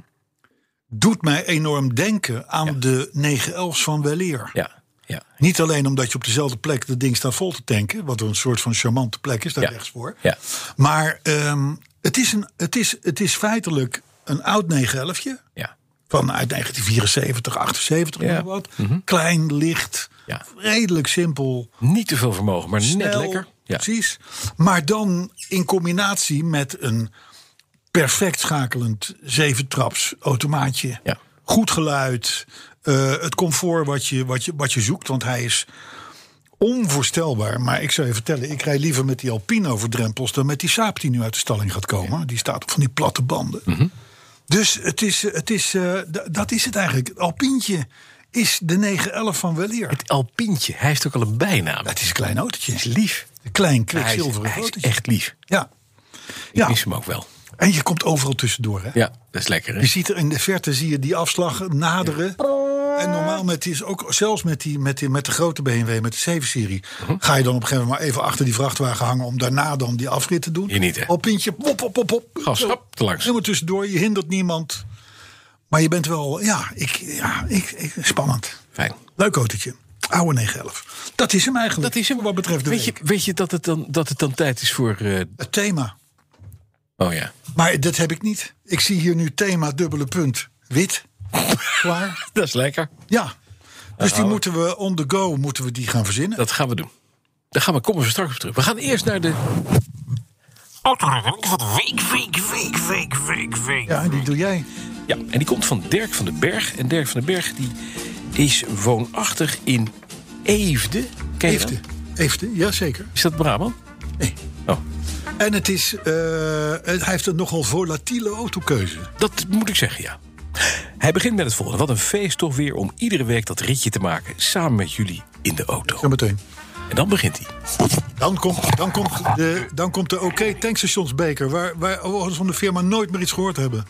Speaker 2: doet mij enorm denken aan de 911's van Weleer.
Speaker 3: Ja, ja.
Speaker 2: Niet alleen omdat je op dezelfde plek dat ding staat vol te tanken, wat een soort van charmante plek is daar
Speaker 3: Ja.
Speaker 2: rechts voor.
Speaker 3: Ja.
Speaker 2: Maar ehm, het, is een, het, is, het is feitelijk een oud 911
Speaker 3: ja.
Speaker 2: van uit 1974, 78
Speaker 3: Ja. Mhm.
Speaker 2: of wat. Klein, licht,
Speaker 3: Ja.
Speaker 2: redelijk simpel
Speaker 3: Niet te veel vermogen, maar net
Speaker 2: snel,
Speaker 3: lekker. Ja.
Speaker 2: Precies. Maar dan in combinatie met een perfect schakelend zeventraps automaatje.
Speaker 3: Ja.
Speaker 2: Goed geluid. eh, het comfort wat je, wat, je, wat je zoekt. Want hij is onvoorstelbaar. Maar ik zou je vertellen. Ik rij liever met die Alpine over drempels. Dan met die Saab die nu uit de stalling gaat komen. Die staat op van die platte banden.
Speaker 3: Mhm.
Speaker 2: Dus het is, het is, eh, d- dat is het eigenlijk. Het Alpientje is de 911 van Weleer.
Speaker 3: Het Alpientje, hij heeft ook al een bijnaam.
Speaker 2: Het is een klein autootje.
Speaker 3: is lief.
Speaker 2: Een klein
Speaker 3: Hij is,
Speaker 2: kwikzilveren
Speaker 3: hij is
Speaker 2: fotootje.
Speaker 3: echt lief.
Speaker 2: Ja.
Speaker 3: Ik
Speaker 2: ja.
Speaker 3: mis hem ook wel.
Speaker 2: En je komt overal tussendoor. Hè?
Speaker 3: Ja, dat is lekker. Hè?
Speaker 2: Je ziet er in de verte zie je die afslag naderen. En normaal met die, ook zelfs met, die, met, die, met de grote BMW, met de 7-serie,
Speaker 3: Mhm.
Speaker 2: ga je dan op een gegeven moment maar even achter die vrachtwagen hangen om daarna dan die afrit te doen.
Speaker 3: Hier niet, hè?
Speaker 2: Al pintje, pop, pop, pop, pop.
Speaker 3: Gas,
Speaker 2: Zo.
Speaker 3: hop, te langs.
Speaker 2: Helemaal tussendoor, je hindert niemand. Maar je bent wel, ja, ik, ja ik, ik- spannend.
Speaker 3: Fijn.
Speaker 2: Leuk autootje. Oude 911. Dat is hem eigenlijk.
Speaker 3: Dat is hem.
Speaker 2: Wat betreft de
Speaker 3: weet je,
Speaker 2: week.
Speaker 3: weet je dat het dan, dat het dan tijd is voor... eh,
Speaker 2: Het thema.
Speaker 3: oh ja.
Speaker 2: Maar dat heb ik niet. Ik zie hier nu thema dubbele punt. Wit. Klaar.
Speaker 3: Dat is lekker.
Speaker 2: Ja. Dus die moeten we on the go moeten we die gaan verzinnen.
Speaker 3: Dat gaan we doen. Daar gaan we, komen we straks op terug. We gaan eerst naar de...
Speaker 4: Autoherinnering van de week, week, week, week, week, week.
Speaker 2: Ja, en die doe jij.
Speaker 3: Ja, en die komt van Dirk van den Berg. En Dirk van den Berg die is woonachtig in Eefde. Ken je dat?
Speaker 2: Eefte. Eefte, jazeker.
Speaker 3: Is dat Brabant?
Speaker 2: Nee.
Speaker 3: Oh,
Speaker 2: En het is, eh, hij heeft een nogal volatiele autokeuze.
Speaker 3: Dat moet ik zeggen, ja. Hij begint met het volgende. Wat een feest toch weer om iedere week dat ritje te maken... samen met jullie in de auto.
Speaker 2: Zometeen.
Speaker 3: En dan begint hij.
Speaker 2: Dan komt, dan komt de, dan komt de OK tankstationsbeker... waar wij overigens van de firma nooit meer iets gehoord hebben.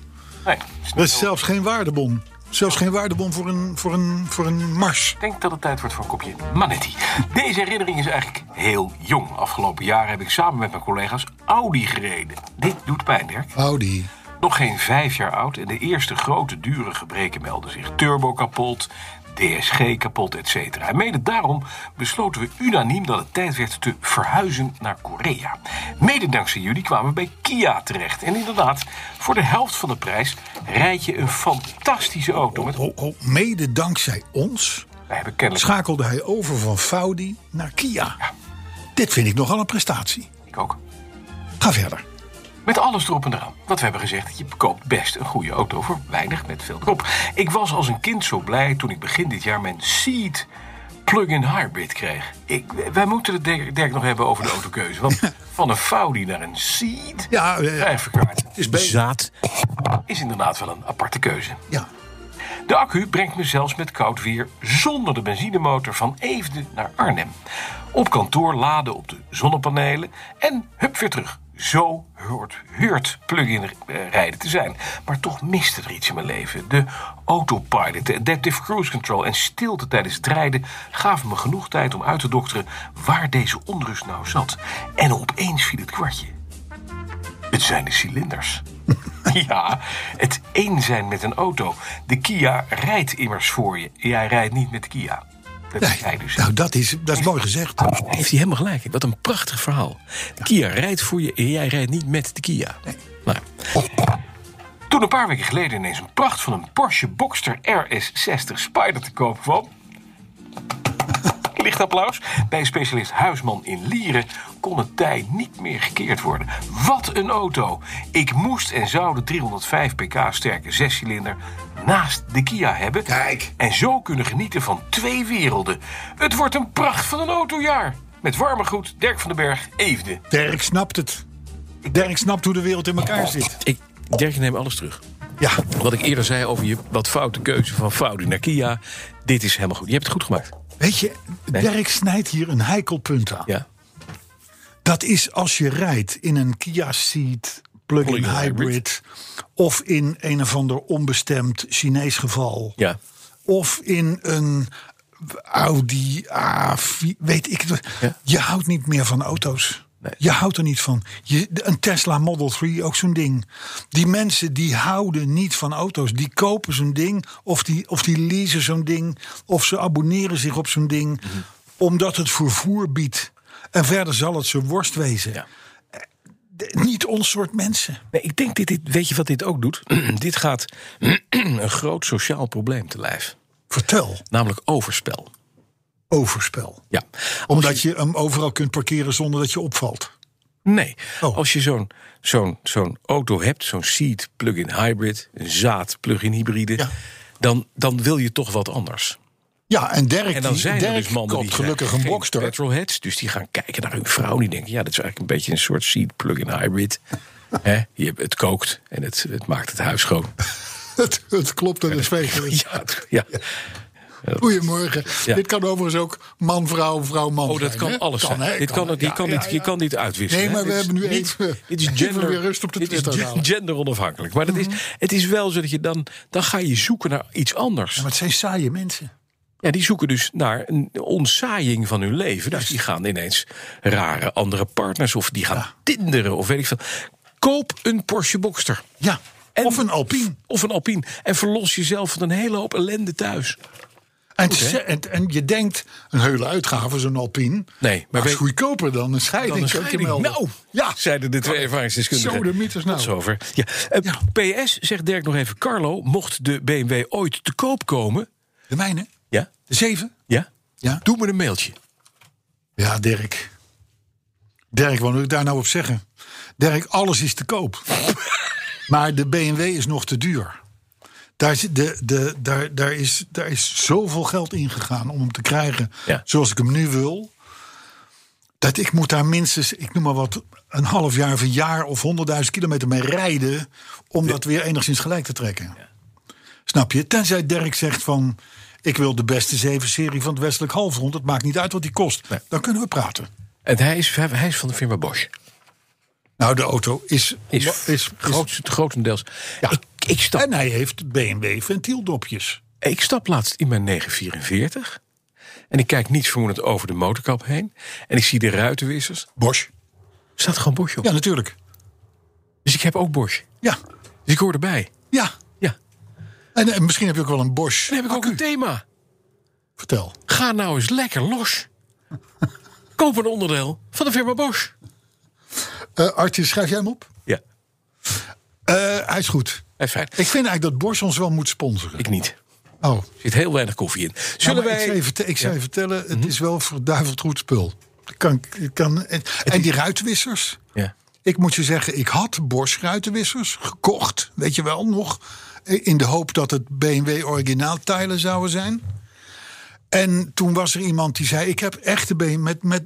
Speaker 2: Dat is zelfs geen waardebon. Zelfs geen waardebon voor een, voor een, voor een mars.
Speaker 5: Ik denk dat het tijd wordt voor een kopje Manetti. Deze herinnering is eigenlijk heel jong. Afgelopen jaar heb ik samen met mijn collega's Audi gereden. Dit doet pijn, Dirk.
Speaker 2: Audi.
Speaker 5: Nog geen vijf jaar oud en de eerste grote dure gebreken melden zich. Turbo kapot,
Speaker 3: DSG kapot, et cetera. En mede daarom besloten we unaniem dat het tijd werd te verhuizen naar Korea. Mede dankzij jullie kwamen we bij Kia terecht. En inderdaad, voor de helft van de prijs rijd je een fantastische auto. Met...
Speaker 2: Ho, ho, mede dankzij ons
Speaker 3: Wij hebben kennelijk...
Speaker 2: schakelde hij over van Faudi naar Kia. Dit vind ik nogal een prestatie.
Speaker 3: Ik ook.
Speaker 2: Ga verder.
Speaker 3: Met alles erop en eraan. Want we hebben gezegd, je koopt best een goede auto voor weinig met veel erop. Ik was als een kind zo blij toen ik begin dit jaar mijn Seat plug-in hybrid kreeg. Ik, wij moeten het Dirk Dirk nog hebben over de autokeuze. Want van een Faudi naar een Seat...
Speaker 2: Ja, ja, ja.
Speaker 3: Even kwijt.
Speaker 2: Het is beter.
Speaker 6: Zaad.
Speaker 3: Is inderdaad wel een aparte keuze.
Speaker 2: Ja.
Speaker 3: De accu brengt me zelfs met koud weer zonder de benzinemotor van Eefde naar Arnhem. Op kantoor laden op de zonnepanelen en hup weer terug. Zo hoort, heurt plug-in eh, rijden te zijn. Maar toch miste er iets in mijn leven. De autopilot, de adaptive cruise control en stilte tijdens het rijden gaven me genoeg tijd om uit te dokteren waar deze onrust nou zat. En opeens viel het kwartje. Het zijn de cilinders. ja, het één zijn met een auto. De Kia rijdt immers voor je. Jij rijdt niet met de Kia. Dat is jij
Speaker 2: Nee,
Speaker 3: dus.
Speaker 2: nou, dat is, dat is mooi gezegd.
Speaker 6: Heeft hij helemaal gelijk. Wat een prachtig verhaal. Kia rijdt voor je en jij rijdt niet met de Kia. Nou,
Speaker 3: Toen een paar weken geleden ineens een pracht van een Porsche Boxster RS60 Spider te koop kwam. Licht applaus. Bij specialist Huisman in Lieren kon het tij niet meer gekeerd worden. Wat een auto! Ik moest en zou de 305 pk sterke zescilinder naast de Kia hebben.
Speaker 2: Kijk.
Speaker 3: En zo kunnen genieten van twee werelden. Het wordt een pracht van een autojaar. Met warme groet, Dirk van den Berg, Eefde.
Speaker 2: Dirk snapt het. Dirk snapt hoe de wereld in elkaar zit.
Speaker 6: ik, Dirk, neem alles terug.
Speaker 2: Ja,
Speaker 6: Wat ik eerder zei over je wat foute keuze van Faudi naar Kia. Dit is helemaal goed. Je hebt het goed gemaakt.
Speaker 2: weet je, Dirk snijdt hier een heikel punt aan.
Speaker 6: Ja.
Speaker 2: Dat is als je rijdt in een Kia Ceed plug-in
Speaker 6: Plug-in
Speaker 2: hybrid,
Speaker 6: hybrid.
Speaker 2: of in een of ander onbestemd Chinees geval,
Speaker 6: Ja.
Speaker 2: of in een Audi A4, weet ik het.
Speaker 6: Ja.
Speaker 2: Je houdt niet meer van auto's.
Speaker 6: Nee.
Speaker 2: Je houdt er niet van. Je, een Tesla Model 3, ook zo'n ding. Die mensen die houden niet van auto's. Die kopen zo'n ding, of die, of die leasen zo'n ding, of ze abonneren zich op zo'n ding,
Speaker 6: Mhm.
Speaker 2: omdat het vervoer biedt. En verder zal het ze worst wezen.
Speaker 6: Ja.
Speaker 2: Eh, Niet ons soort mensen.
Speaker 6: Nee, ik denk, dit, dit, weet je wat dit ook doet? dit gaat een groot sociaal probleem te lijf.
Speaker 2: Vertel
Speaker 6: Namelijk overspel.
Speaker 2: overspel.
Speaker 6: Ja.
Speaker 2: Omdat je hem overal kunt parkeren zonder dat je opvalt.
Speaker 6: Nee.
Speaker 2: Oh.
Speaker 6: Als je zo'n zo'n zo'n auto hebt, zo'n Seat plug-in hybrid, een Zaad plug-in hybride,
Speaker 2: Ja.
Speaker 6: dan, dan wil je toch wat anders.
Speaker 2: Ja, en Dirk,
Speaker 6: En dan
Speaker 2: die,
Speaker 6: zijn er
Speaker 2: Dirk
Speaker 6: dus mannen
Speaker 2: koopt
Speaker 6: die
Speaker 2: gelukkig
Speaker 6: geen
Speaker 2: een Boxster.
Speaker 6: petrolheads, dus die gaan kijken naar hun vrouw. Die denken, ja, dat is eigenlijk een beetje een soort Seat plug-in hybrid. Hè, je hebt- het kookt en het, het maakt het huis schoon.
Speaker 2: Het, het klopt en het zweegt.
Speaker 6: Ja, het- ja.
Speaker 2: Goedemorgen.
Speaker 6: Ja.
Speaker 2: Dit kan overigens ook man, vrouw, vrouw, man
Speaker 6: Oh, dat
Speaker 2: zijn,
Speaker 6: kan
Speaker 2: hè?
Speaker 6: alles zijn.
Speaker 2: hè?
Speaker 6: Dit kan, het- je,
Speaker 2: ja,
Speaker 6: kan
Speaker 2: ja,
Speaker 6: niet, je
Speaker 2: ja.
Speaker 6: kan niet uitwisselen.
Speaker 2: Nee, maar
Speaker 6: hè.
Speaker 2: we
Speaker 6: Dit is
Speaker 2: hebben nu
Speaker 6: niet-
Speaker 2: even-
Speaker 6: dit is
Speaker 2: even
Speaker 6: gender,
Speaker 2: weer rust op de
Speaker 6: dit is
Speaker 2: Twitter Mhm. houden.
Speaker 6: gender onafhankelijk. Maar dat is, het is wel zo dat je dan... Dan ga je zoeken naar iets anders.
Speaker 2: Maar het zijn saaie mensen.
Speaker 6: Ja, die zoeken dus naar een ontsaaiing van hun leven. Dus die gaan ineens rare andere partners... of die gaan tinderen of weet ik veel. Koop een Porsche Boxster.
Speaker 2: Ja.
Speaker 6: En-
Speaker 2: of een Alpine.
Speaker 6: Of een Alpine. En verlos jezelf van een hele hoop ellende thuis.
Speaker 2: En, het is- en, en je denkt, een hele uitgave, zo'n Alpine.
Speaker 6: maar
Speaker 2: maar
Speaker 6: weet-
Speaker 2: is goedkoper dan een scheiding.
Speaker 6: Dan een
Speaker 2: kan ik je
Speaker 6: scheiding.
Speaker 2: melden.
Speaker 6: Nou,
Speaker 2: ja.
Speaker 6: zeiden de twee ervaringsdeskundigen.
Speaker 2: Zo de mythes nou.
Speaker 6: Tot zover. Ja. Eh, PS, zegt Dirk nog even, Carlo, mocht de BMW ooit te koop komen...
Speaker 2: De mijne?
Speaker 6: Ja?
Speaker 2: De zeven?
Speaker 6: Ja?
Speaker 2: Ja.
Speaker 6: Doe me een mailtje.
Speaker 2: Ja, Dirk. Dirk, wat moet ik daar nou op zeggen? Dirk, alles is te koop. maar de BMW is nog te duur. Daar, zit- de, de, daar, daar, is, daar is zoveel geld in gegaan om hem te krijgen
Speaker 6: Ja.
Speaker 2: zoals ik hem nu wil. Dat ik moet daar minstens, ik noem maar wat, een half jaar of een jaar of 100.000 kilometer mee rijden. om dat weer enigszins gelijk te trekken. Snap je? Tenzij Dirk zegt van. Ik wil de beste zeven serie van het Westelijk Halfrond. Het maakt niet uit wat die kost.
Speaker 6: Nee.
Speaker 2: Dan kunnen we praten.
Speaker 6: En hij is, hij is van de firma Bosch.
Speaker 2: Nou, de auto is.
Speaker 6: Is,
Speaker 2: is, is-
Speaker 6: groots- grotendeels.
Speaker 2: Ja.
Speaker 6: Ik, ik, stap,
Speaker 2: en hij heeft BMW ventieldopjes.
Speaker 6: ik stap laatst in mijn 944. En ik kijk niet vermoedend over de motorkap heen. En ik zie de ruitenwissers.
Speaker 2: Bosch.
Speaker 6: Er staat gewoon Bosch op.
Speaker 2: Ja, natuurlijk.
Speaker 6: Dus ik heb ook Bosch.
Speaker 2: Ja.
Speaker 6: Dus ik hoor erbij.
Speaker 2: Ja.
Speaker 6: Ja.
Speaker 2: En, eh, misschien heb je ook wel een Bosch.
Speaker 6: Dan heb ik ook een thema.
Speaker 2: Vertel.
Speaker 6: Ga nou eens lekker los. Koop een onderdeel van de firma Bosch.
Speaker 2: Eh Artje, schrijf jij hem op?
Speaker 6: Ja,
Speaker 2: Eh, hij is goed.
Speaker 6: en fijn.
Speaker 2: Ik vind eigenlijk dat Bosch ons wel moet sponsoren.
Speaker 6: Ik niet.
Speaker 2: oh, nou,
Speaker 6: Er zit heel weinig koffie in. Zullen
Speaker 2: maar ik zou
Speaker 6: wij... Mhm.
Speaker 2: je, vertel- ik zou je vertellen, het is wel verduiveld goed spul. Ik Kan, ik kan, en, en die ruitwissers.
Speaker 6: Ja.
Speaker 2: Ik moet je zeggen, ik had Bosch ruitenwissers gekocht. Weet je wel, nog. eh, In de hoop dat het BMW originaaltijlen zouden zijn. En toen was er iemand die zei... ik heb echte BMW met, met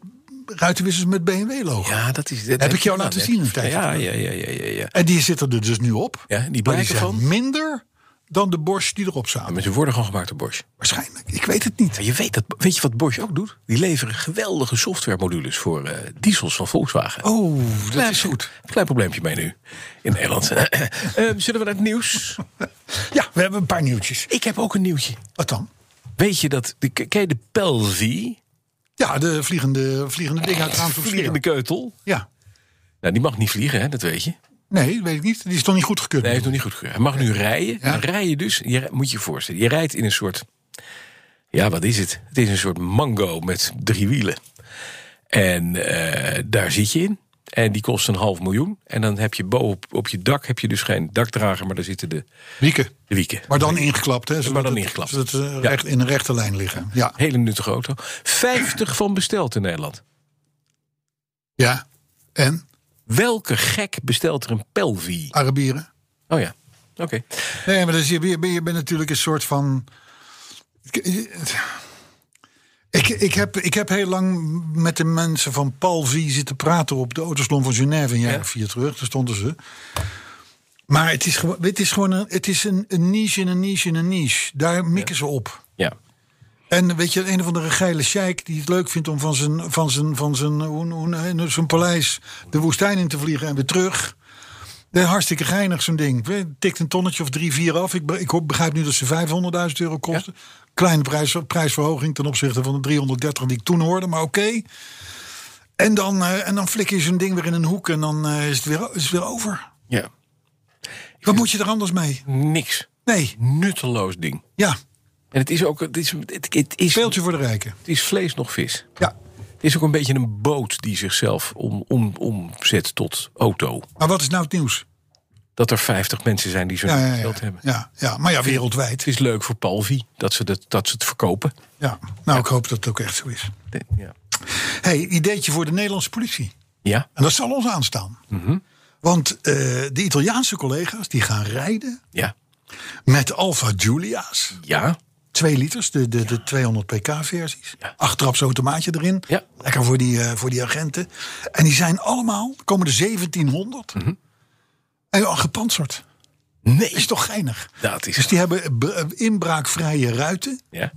Speaker 2: ruitenwissers met BMW-logo.
Speaker 6: ja, dat is... dat
Speaker 2: ik
Speaker 6: je
Speaker 2: jou
Speaker 6: gedaan,
Speaker 2: laten
Speaker 6: hè?
Speaker 2: zien een tijdje
Speaker 6: Ja, ja, ja, ja, ja, ja.
Speaker 2: En die zitten er dus nu op.
Speaker 6: Ja, die
Speaker 2: maar die
Speaker 6: blijken
Speaker 2: zijn
Speaker 6: van?
Speaker 2: minder dan de Bosch die erop zaten.
Speaker 6: Maar ze worden gewoon gemaakt door Bosch.
Speaker 2: Waarschijnlijk. Ik weet het niet.
Speaker 6: Maar je weet, dat, weet je wat Bosch ook doet? Die leveren geweldige softwaremodules voor eh, diesels van Volkswagen.
Speaker 2: Oh, dat
Speaker 6: Klein-
Speaker 2: is goed.
Speaker 6: Klein probleempje mee nu in Nederland. Eh, zullen we naar het nieuws?
Speaker 2: Ja, we hebben een paar nieuwtjes.
Speaker 6: Ik heb ook een nieuwtje.
Speaker 2: Wat dan?
Speaker 6: Weet je dat, de, ken je de Pelvi?
Speaker 2: Ja, de vliegende, vliegende ding uit het raam van de
Speaker 6: Vliegende
Speaker 2: sfeer.
Speaker 6: keutel.
Speaker 2: Ja.
Speaker 6: Nou, die mag niet vliegen, hè, dat weet je.
Speaker 2: Nee, weet ik niet. Die is toch niet goed gekund?
Speaker 6: Nee, hij heeft nog niet goed gekeurd. Hij mag nu rijden.
Speaker 2: Ja.
Speaker 6: Dan rij je dus, je, rij- moet je je voorstellen, je rijdt in een soort... Ja, wat is het? Het is een soort mango met drie wielen. En eh, daar zit je in. En die kost een half miljoen. En dan heb je bovenop op je dak heb je dus geen dakdrager, maar daar zitten de,
Speaker 2: Wieken.
Speaker 6: de wieken.
Speaker 2: Maar dan ingeklapt, hè? zodat
Speaker 6: dan
Speaker 2: het-
Speaker 6: ingeklapt.
Speaker 2: Zodat ze
Speaker 6: Ja.
Speaker 2: recht, in een rechte lijn liggen. Ja.
Speaker 6: Hele nuttige auto. 50 van besteld in Nederland.
Speaker 2: ja. En
Speaker 6: Welke gek bestelt er een Pelvi?
Speaker 2: Arabieren.
Speaker 6: Oh ja, oké.
Speaker 2: Nee, maar dus je, je, je bent natuurlijk een soort van. eh, Ik, ik, heb, ik heb heel lang met de mensen van Palvi zitten praten op de Autosalon van Genève een jaar of vier terug. Daar stonden ze. Maar het is, gewoon- het is gewoon een, het is een, een niche in een niche in een niche. Daar mikken ze op.
Speaker 6: Ja.
Speaker 2: En weet je, een of andere geile sheik die het leuk vindt om van zijn, van zijn, van zijn, hoe- hoe- hoe- zijn paleis de woestijn in te vliegen en weer terug. Dat is hartstikke geinig, zo'n ding. We- Tikt een tonnetje of drie, vier af. Ik, be- ik hoop- begrijp nu dat ze 500.000 euro kosten. Kleine prijs, prijsverhoging ten opzichte van de 330 die ik toen hoorde, maar oké. En, dan, eh, en dan flikker je zo'n ding weer in een hoek en dan eh, is, het weer, is het weer over.
Speaker 6: ja.
Speaker 2: Wat moet je er anders mee?
Speaker 6: Niks.
Speaker 2: Nee,
Speaker 6: Nutteloos ding.
Speaker 2: ja,
Speaker 6: En het is ook... Het is, het, het is,
Speaker 2: speeltje voor de rijken.
Speaker 6: Het is vlees nog vis.
Speaker 2: Ja.
Speaker 6: Het is ook een beetje een boot die zichzelf om, om, omzet tot auto.
Speaker 2: Maar wat is nou het nieuws?
Speaker 6: Dat er 50 mensen zijn die zo'n
Speaker 2: Ja,
Speaker 6: geld
Speaker 2: ja, ja,
Speaker 6: hebben.
Speaker 2: ja, ja. maar ja, wereldwijd.
Speaker 6: Het is leuk voor Palvi dat ze, dat, dat ze het verkopen.
Speaker 2: Ja, nou, ik hoop dat het ook echt zo is.
Speaker 6: De- ja.
Speaker 2: hey, ideetje voor de Nederlandse politie.
Speaker 6: ja,
Speaker 2: En dat zal ons aanstaan.
Speaker 6: Mhm.
Speaker 2: Want eh, de Italiaanse collega's die gaan rijden
Speaker 6: ja,
Speaker 2: met Alfa Giulia's.
Speaker 6: ja.
Speaker 2: 2 liters, de, de, de 200 pk-versies.
Speaker 6: Ja.
Speaker 2: Achttrapsautomaatje erin.
Speaker 6: Ja.
Speaker 2: Lekker voor die, eh, voor die agenten. En die zijn allemaal, er komen er 1700. En al gepantserd.
Speaker 6: Mhm. Nee,
Speaker 2: Is toch geinig?
Speaker 6: dat is...
Speaker 2: Dus die hebben be- inbraakvrije ruiten.
Speaker 6: Ja.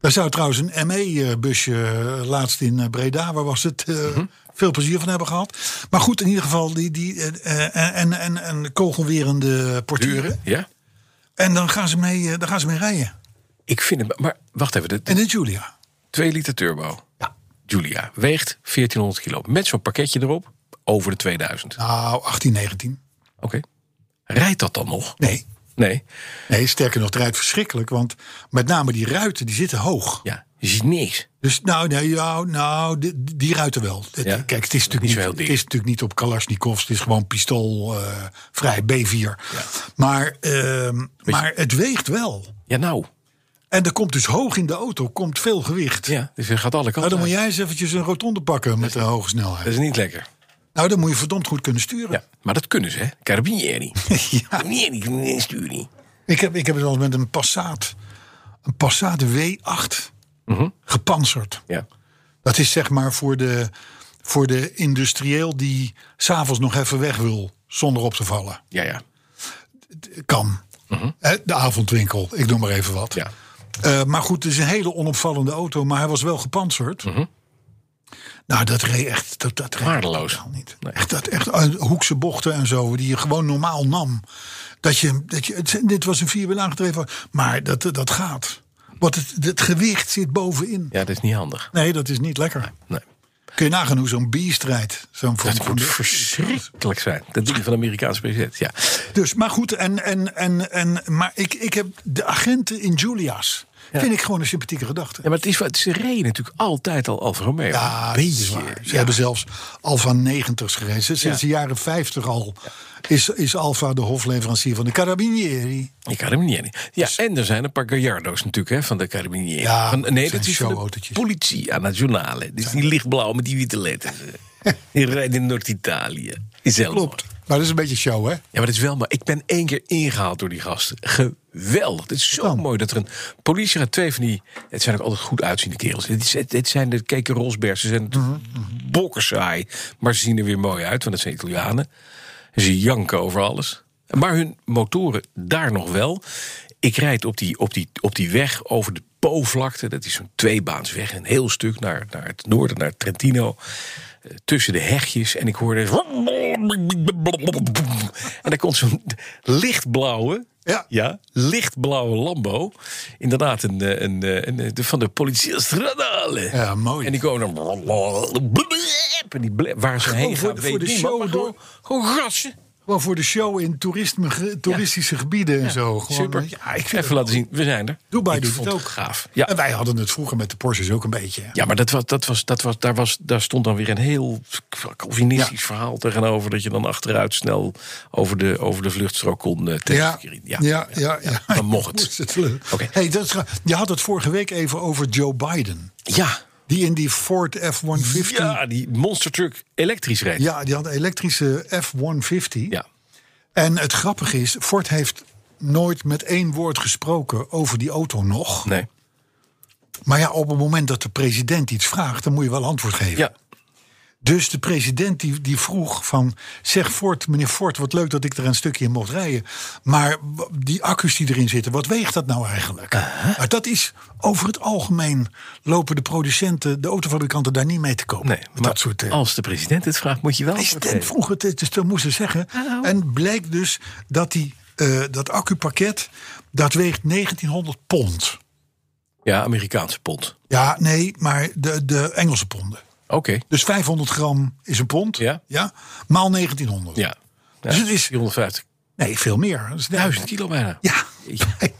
Speaker 2: Daar zou trouwens een ME-busje laatst in eh, Breda, waar was het, eh, veel plezier van hebben gehad. Maar goed, in ieder geval, die, die, eh, eh, en, en, en kogelwerende porturen.
Speaker 6: ja.
Speaker 2: En dan gaan, ze mee, eh, dan gaan ze mee rijden.
Speaker 6: Ik vind het... Maar wacht even, de
Speaker 2: En de Julia.
Speaker 6: 2 liter turbo. Ja. Julia weegt 1400 kilo. Met zo'n pakketje erop, over de 2000.
Speaker 2: Nou, 18, 19.
Speaker 6: Oké. Rijdt dat dan nog?
Speaker 2: Nee.
Speaker 6: Nee.
Speaker 2: Nee, sterker nog, het rijdt verschrikkelijk. Want met name die ruiten, die zitten hoog.
Speaker 6: Ja, je ziet niks.
Speaker 2: Dus nou, nee, nou, nou die, die ruiten wel. Het-
Speaker 6: Ja.
Speaker 2: Kijk, het is, natuurlijk
Speaker 6: Niet
Speaker 2: niet,
Speaker 6: zo heel
Speaker 2: het
Speaker 6: dik.
Speaker 2: is natuurlijk niet op Kalashnikovs. Het is gewoon pistool, eh, vrij B4. Maar, ehm, maar het weegt wel.
Speaker 6: Ja, nou.
Speaker 2: En er komt dus hoog in de auto komt veel gewicht.
Speaker 6: Ja, dus je gaat alle kanten
Speaker 2: Nou, dan moet
Speaker 6: uit.
Speaker 2: jij eens eventjes een rotonde pakken met de hoge snelheid.
Speaker 6: Dat is niet lekker.
Speaker 2: Nou, dan moet je verdomd goed kunnen sturen.
Speaker 6: Ja, maar dat kunnen ze, hè? Carabinieri.
Speaker 2: Ja.
Speaker 6: Carabinieri, Carabinieri.
Speaker 2: Ik, heb, ik heb het al eens met een Passat, een Passat W8
Speaker 6: Mhm.
Speaker 2: gepantserd.
Speaker 6: Ja.
Speaker 2: Dat is zeg maar voor de, voor de industrieel die s'avonds nog even weg wil zonder op te vallen.
Speaker 6: Ja, ja.
Speaker 2: Kan. Hè, De avondwinkel, ik noem maar even wat.
Speaker 6: Mhm. Ja.
Speaker 2: Eh, maar goed, het is een hele onopvallende auto, maar hij was wel gepantserd.
Speaker 6: Mhm.
Speaker 2: Nou, dat reed echt. Dat, dat reed
Speaker 6: Waardeloos.
Speaker 2: totaal niet. Echt, dat, echt eh, hoekse bochten en zo, die je gewoon normaal nam. Dat je, dat je, het- dit was een vierwiel aangedreven, maar dat, dat gaat. Want het, het gewicht zit bovenin.
Speaker 6: Ja, dat is niet handig.
Speaker 2: Nee, dat is niet lekker.
Speaker 6: Nee.
Speaker 2: Kun je nagaan hoe zo'n bierstrijd. Zo'n van-
Speaker 6: Dat
Speaker 2: van-
Speaker 6: moet verschrikkelijk zijn. Dat ding van de Amerikaanse president. Ja.
Speaker 2: Dus, maar goed, en, en, en, en, maar ik, ik heb de agenten in Julia's. Vind ik gewoon een sympathieke gedachte.
Speaker 6: Ja, maar het is, wat- ze reden natuurlijk altijd al Alfa Romeo.
Speaker 2: Ja,
Speaker 6: Een
Speaker 2: dat is waar. Ze hebben zelfs Alfa 90's gereden. Sinds
Speaker 6: Ja.
Speaker 2: de jaren 50 al is, is Alfa de hofleverancier van de Carabinieri.
Speaker 6: Ik had hem niet aan. Ja, en er zijn een paar Gallardo's natuurlijk, hè, van de Carabinieri.
Speaker 2: Dus- Ja,
Speaker 6: van, nee,
Speaker 2: dat
Speaker 6: dat
Speaker 2: zijn
Speaker 6: is van de
Speaker 2: showautootjes.
Speaker 6: politie aan nationale. Dus die lichtblauw met die witte letters. die rijdt in Noord-Italië. Is heel mooi.
Speaker 2: Maar dat is een beetje show, hè?
Speaker 6: Ja, maar dat is wel maar. Ik ben één keer ingehaald door die gasten. Geweldig. Het is zo mooi dat er een politie gaat twee van die. Het zijn ook altijd goed uitziende kerels. Dit, is, dit zijn de keken Rosbergs. Ze zijn bokkersaai. Maar ze zien er weer mooi uit, want het zijn Italianen. En ze janken over alles. Maar hun motoren daar nog wel. Ik rijd op die, op die, op die weg over de Po-vlakte. Dat is zo'n tweebaansweg. Een heel stuk naar, naar het noorden, naar Trentino eh, tussen de hegjes en ik hoorde. En daar komt zo'n lichtblauwe.
Speaker 2: Ja.
Speaker 6: lichtblauwe Lambo. Inderdaad, een, eh, een, eh, een, eh, de- van de politie stradale.
Speaker 2: Ja, mooi.
Speaker 6: En die komen dan. En die ble- waar ze heen
Speaker 2: voor
Speaker 6: gaan,
Speaker 2: de-
Speaker 6: weet
Speaker 2: voor de
Speaker 6: ik niet,
Speaker 2: show
Speaker 6: maar gewoon, gewoon gassen.
Speaker 2: Gewoon voor de show in toerisme, ge- toeristische gebieden en zo. Gewoon, eh,
Speaker 6: Super.
Speaker 2: weet je.
Speaker 6: Ja, ik even laten zien, we zijn er.
Speaker 2: Dubai
Speaker 6: ik
Speaker 2: doet
Speaker 6: vond
Speaker 2: het ook.
Speaker 6: gaaf. Ja.
Speaker 2: En wij hadden het vroeger met de Porsches ook een beetje. hè?
Speaker 6: Ja, maar dat was, dat was, dat was, daar, was, daar stond dan weer een heel Calvinistisch verhaal tegenover. Dat je dan achteruit snel over de, over de vluchtstrook kon eh, tegen
Speaker 2: Ja,
Speaker 6: Kirin.
Speaker 2: ja, ja, ja,
Speaker 6: Dan mocht het.
Speaker 2: Moest het leuk.
Speaker 6: Oké.
Speaker 2: Hey, dat is ra- je had het vorige week even over Joe Biden.
Speaker 6: Ja,
Speaker 2: Die in die Ford F-150... Ja.
Speaker 6: ja, die monster truck elektrisch reed.
Speaker 2: die had een elektrische F-150.
Speaker 6: Ja.
Speaker 2: En het grappige is, Ford heeft nooit met één woord gesproken over die auto nog.
Speaker 6: nee.
Speaker 2: Maar ja, op het moment dat de president iets vraagt, dan moet je wel antwoord geven.
Speaker 6: Ja.
Speaker 2: Dus de president die, die vroeg van, zeg Ford, meneer Ford, wat leuk dat ik er een stukje in mocht rijden. Maar w- die accu's die erin zitten, wat weegt dat nou
Speaker 6: Eh,
Speaker 2: eigenlijk? Nou, dat is, over het algemeen lopen de producenten, de autofabrikanten daar niet mee te komen.
Speaker 6: Nee,
Speaker 2: Met
Speaker 6: maar Oh,
Speaker 2: dat soort eh,
Speaker 6: als de president het vraagt, moet je wel. antwoord
Speaker 2: president
Speaker 6: geven.
Speaker 2: vroeg het, dus dat moesten zeggen. En bleek dus dat die, eh, dat accupakket, dat weegt 1900 pond.
Speaker 6: Ja, Amerikaanse pond.
Speaker 2: Ja, nee, maar de, de Engelse ponden.
Speaker 6: Oké.
Speaker 2: Dus 500 gram is een pond.
Speaker 6: Ja.
Speaker 2: maal 1900.
Speaker 6: Ja. ja.
Speaker 2: Dus het is-
Speaker 6: 450.
Speaker 2: Nee, veel meer. Dat is
Speaker 6: 1000
Speaker 2: duizend.
Speaker 6: kilo bijna.
Speaker 2: Ja, bijna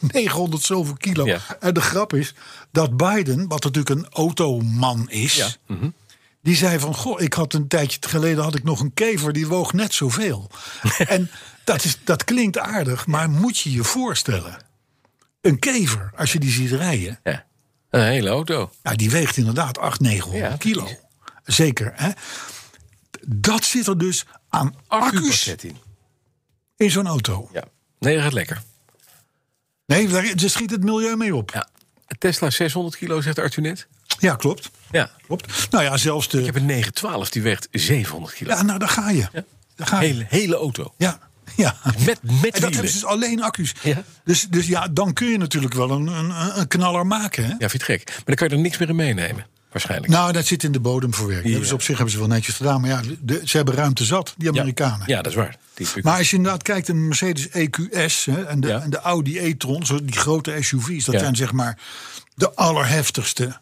Speaker 2: 1900 zoveel kilo.
Speaker 6: Ja.
Speaker 2: En de grap is dat Biden, wat natuurlijk een automan is...
Speaker 6: Ja, mhm.
Speaker 2: die zei van, goh, ik had een tijdje geleden had ik nog een kever... die woog net zoveel. en dat, is, dat klinkt aardig, maar moet je je voorstellen... een kever, als je die ziet rijden...
Speaker 6: Ja. Een hele auto.
Speaker 2: Nou, die weegt inderdaad 800, 900
Speaker 6: Ja,
Speaker 2: kilo. Zeker. Hè? Dat zit er dus aan accu's
Speaker 6: Accupakket in.
Speaker 2: in zo'n auto.
Speaker 6: Ja. Nee, dat gaat lekker.
Speaker 2: Nee, daar daar schiet het milieu mee op. Ja,
Speaker 6: Ja. Tesla 600 kilo, zegt Arthur net.
Speaker 2: klopt.
Speaker 6: Ja.
Speaker 2: klopt. Nou ja, zelfs de...
Speaker 6: Ik heb een 912, die weegt 700 kilo.
Speaker 2: Ja, nou, daar ga je. Daar ga je.
Speaker 6: hele, hele auto.
Speaker 2: Ja. Ja.
Speaker 6: Met, met
Speaker 2: En dat hebben
Speaker 6: wielen.
Speaker 2: ze dus alleen accu's.
Speaker 6: Ja.
Speaker 2: Dus, dus ja, dan kun je natuurlijk wel een, een, een knaller maken. Hè?
Speaker 6: Ja, vind je het gek. Maar dan kan je er niks meer in meenemen. Waarschijnlijk.
Speaker 2: Nou, dat zit in de bodemverwerking. Dat Hebben ze op zich hebben ze wel netjes gedaan. Maar ja, de- ze hebben ruimte zat, die
Speaker 6: ja.
Speaker 2: Amerikanen.
Speaker 6: Ja, dat is waar. Die is
Speaker 2: Maar als je inderdaad kijkt naar de Mercedes EQS hè, en, de,
Speaker 6: Ja.
Speaker 2: en de Audi e-tron, zo die grote SUV's, dat
Speaker 6: Ja. Mhm.
Speaker 2: zijn zeg maar de allerheftigste.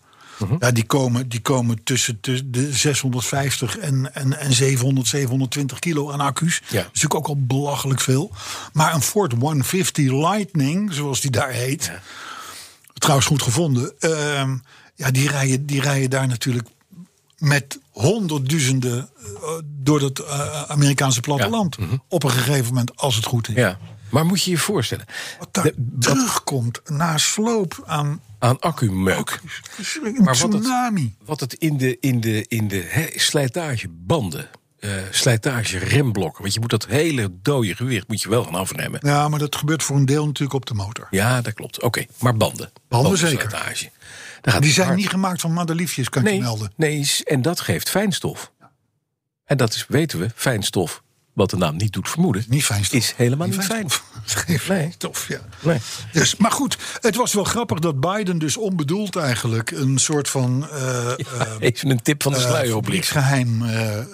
Speaker 2: ja, die, komen, die komen tussen, tussen de 650 en, en, en 700, 720 kilo aan accu's.
Speaker 6: Ja.
Speaker 2: Dat is natuurlijk ook al belachelijk veel. Maar een Ford 150 Lightning, zoals die daar heet, trouwens goed gevonden, ehm, ja, die, rijden, die rijden daar natuurlijk met honderdduizenden eh, door dat eh, Amerikaanse platteland. Op een gegeven moment, als het goed is.
Speaker 6: mhm. ja. maar moet je je voorstellen.
Speaker 2: Wat daar
Speaker 6: De- wat-
Speaker 2: terugkomt na sloop aan
Speaker 6: aan accumeuk.
Speaker 2: een
Speaker 6: Maar wat het-
Speaker 2: tsunami.
Speaker 6: Wat het in de, in de, in de hè, slijtage banden, eh, slijtage remblokken. Want je moet dat hele dode gewicht moet je wel gaan afnemen.
Speaker 2: Ja, maar dat gebeurt voor een deel natuurlijk op de motor.
Speaker 6: Ja, dat klopt. Oké, maar banden.
Speaker 2: zeker.
Speaker 6: Slijtage. Daar gaat
Speaker 2: Die
Speaker 6: het
Speaker 2: zijn
Speaker 6: hard.
Speaker 2: niet gemaakt van madeliefjes, kan ik je melden.
Speaker 6: nee, s- en dat geeft fijnstof. En dat is, weten we, fijnstof, wat de naam niet doet vermoeden,
Speaker 2: Niet fijn stof.
Speaker 6: is helemaal niet, fijn.
Speaker 2: fijnstof. Geen
Speaker 6: Nee.
Speaker 2: stof, ja.
Speaker 6: Nee.
Speaker 2: Dus, maar goed, het was wel grappig dat Biden dus onbedoeld eigenlijk... een soort van eh eh,
Speaker 6: Even een tip van de
Speaker 2: eh,
Speaker 6: sluier oplicht.
Speaker 2: fabrieksgeheim eh, eh,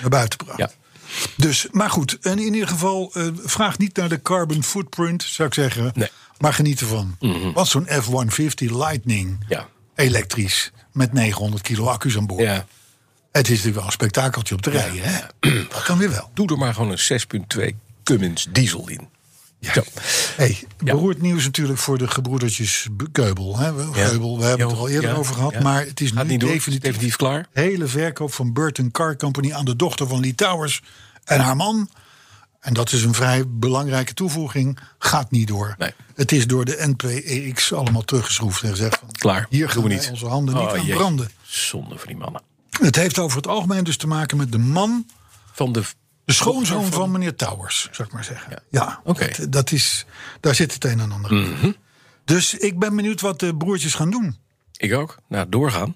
Speaker 2: naar buiten bracht.
Speaker 6: Ja.
Speaker 2: Dus, maar goed, en in ieder geval, eh, vraag niet naar de carbon footprint, zou ik zeggen.
Speaker 6: Nee. Mhm.
Speaker 2: Maar geniet ervan. Want zo'n F-150 Lightning,
Speaker 6: Ja.
Speaker 2: elektrisch, met 900 kilo accu's aan boord.
Speaker 6: ja.
Speaker 2: Het is natuurlijk wel een spektakeltje op te rijden, hè? Dat kan weer wel.
Speaker 6: Doe er maar gewoon een 6.2 Cummins diesel in. Zo.
Speaker 2: Hey, beroerd nieuws natuurlijk voor de gebroedertjes Keubel. Hè? We- Geubel, we hebben het
Speaker 6: Jo,
Speaker 2: er al eerder
Speaker 6: ja,
Speaker 2: over gehad.
Speaker 6: ja.
Speaker 2: Maar het is
Speaker 6: Gaat
Speaker 2: nu
Speaker 6: niet door.
Speaker 2: definitief,
Speaker 6: Definitief klaar.
Speaker 2: De hele verkoop van Burton Car Company aan de dochter van Lee Towers en haar man. En dat is een vrij belangrijke toevoeging. Gaat niet door.
Speaker 6: Nee.
Speaker 2: Het is door de NPEX allemaal teruggeschroefd en gezegd van...
Speaker 6: Klaar,
Speaker 2: Hier
Speaker 6: doen
Speaker 2: gaan
Speaker 6: we
Speaker 2: wij
Speaker 6: niet.
Speaker 2: onze handen niet
Speaker 6: Oh,
Speaker 2: aan
Speaker 6: jeetje.
Speaker 2: branden.
Speaker 6: Zonde van die mannen.
Speaker 2: Het heeft over het algemeen dus te maken met de man
Speaker 6: Van de...
Speaker 2: de schoonzoon van meneer Towers, zou ik maar zeggen. Ja,
Speaker 6: Oké. Mhm.
Speaker 2: dat, dat is, daar zit het een en ander in. Dus ik ben benieuwd wat de broertjes gaan doen.
Speaker 6: Ik ook. Nou, doorgaan.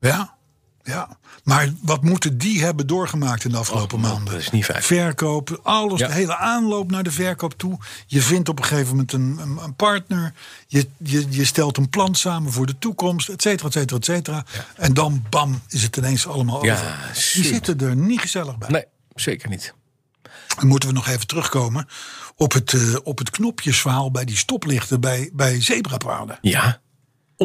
Speaker 2: Ja, ja. Maar wat moeten die hebben doorgemaakt in de afgelopen
Speaker 6: Oh, dat
Speaker 2: maanden?
Speaker 6: is niet fijn.
Speaker 2: Verkoop, alles,
Speaker 6: Ja.
Speaker 2: de hele aanloop naar de verkoop toe. Je vindt op een gegeven moment een, een, een partner. Je, je, je stelt een plan samen voor de toekomst, et cetera, et cetera, et cetera. En dan, bam, is het ineens allemaal
Speaker 6: Ja,
Speaker 2: over. Die
Speaker 6: zuur.
Speaker 2: zitten er niet gezellig bij.
Speaker 6: Nee, zeker niet.
Speaker 2: Dan moeten we nog even terugkomen op het, eh, op het knopjesverhaal bij die stoplichten bij, bij zebrapaden.
Speaker 6: Ja.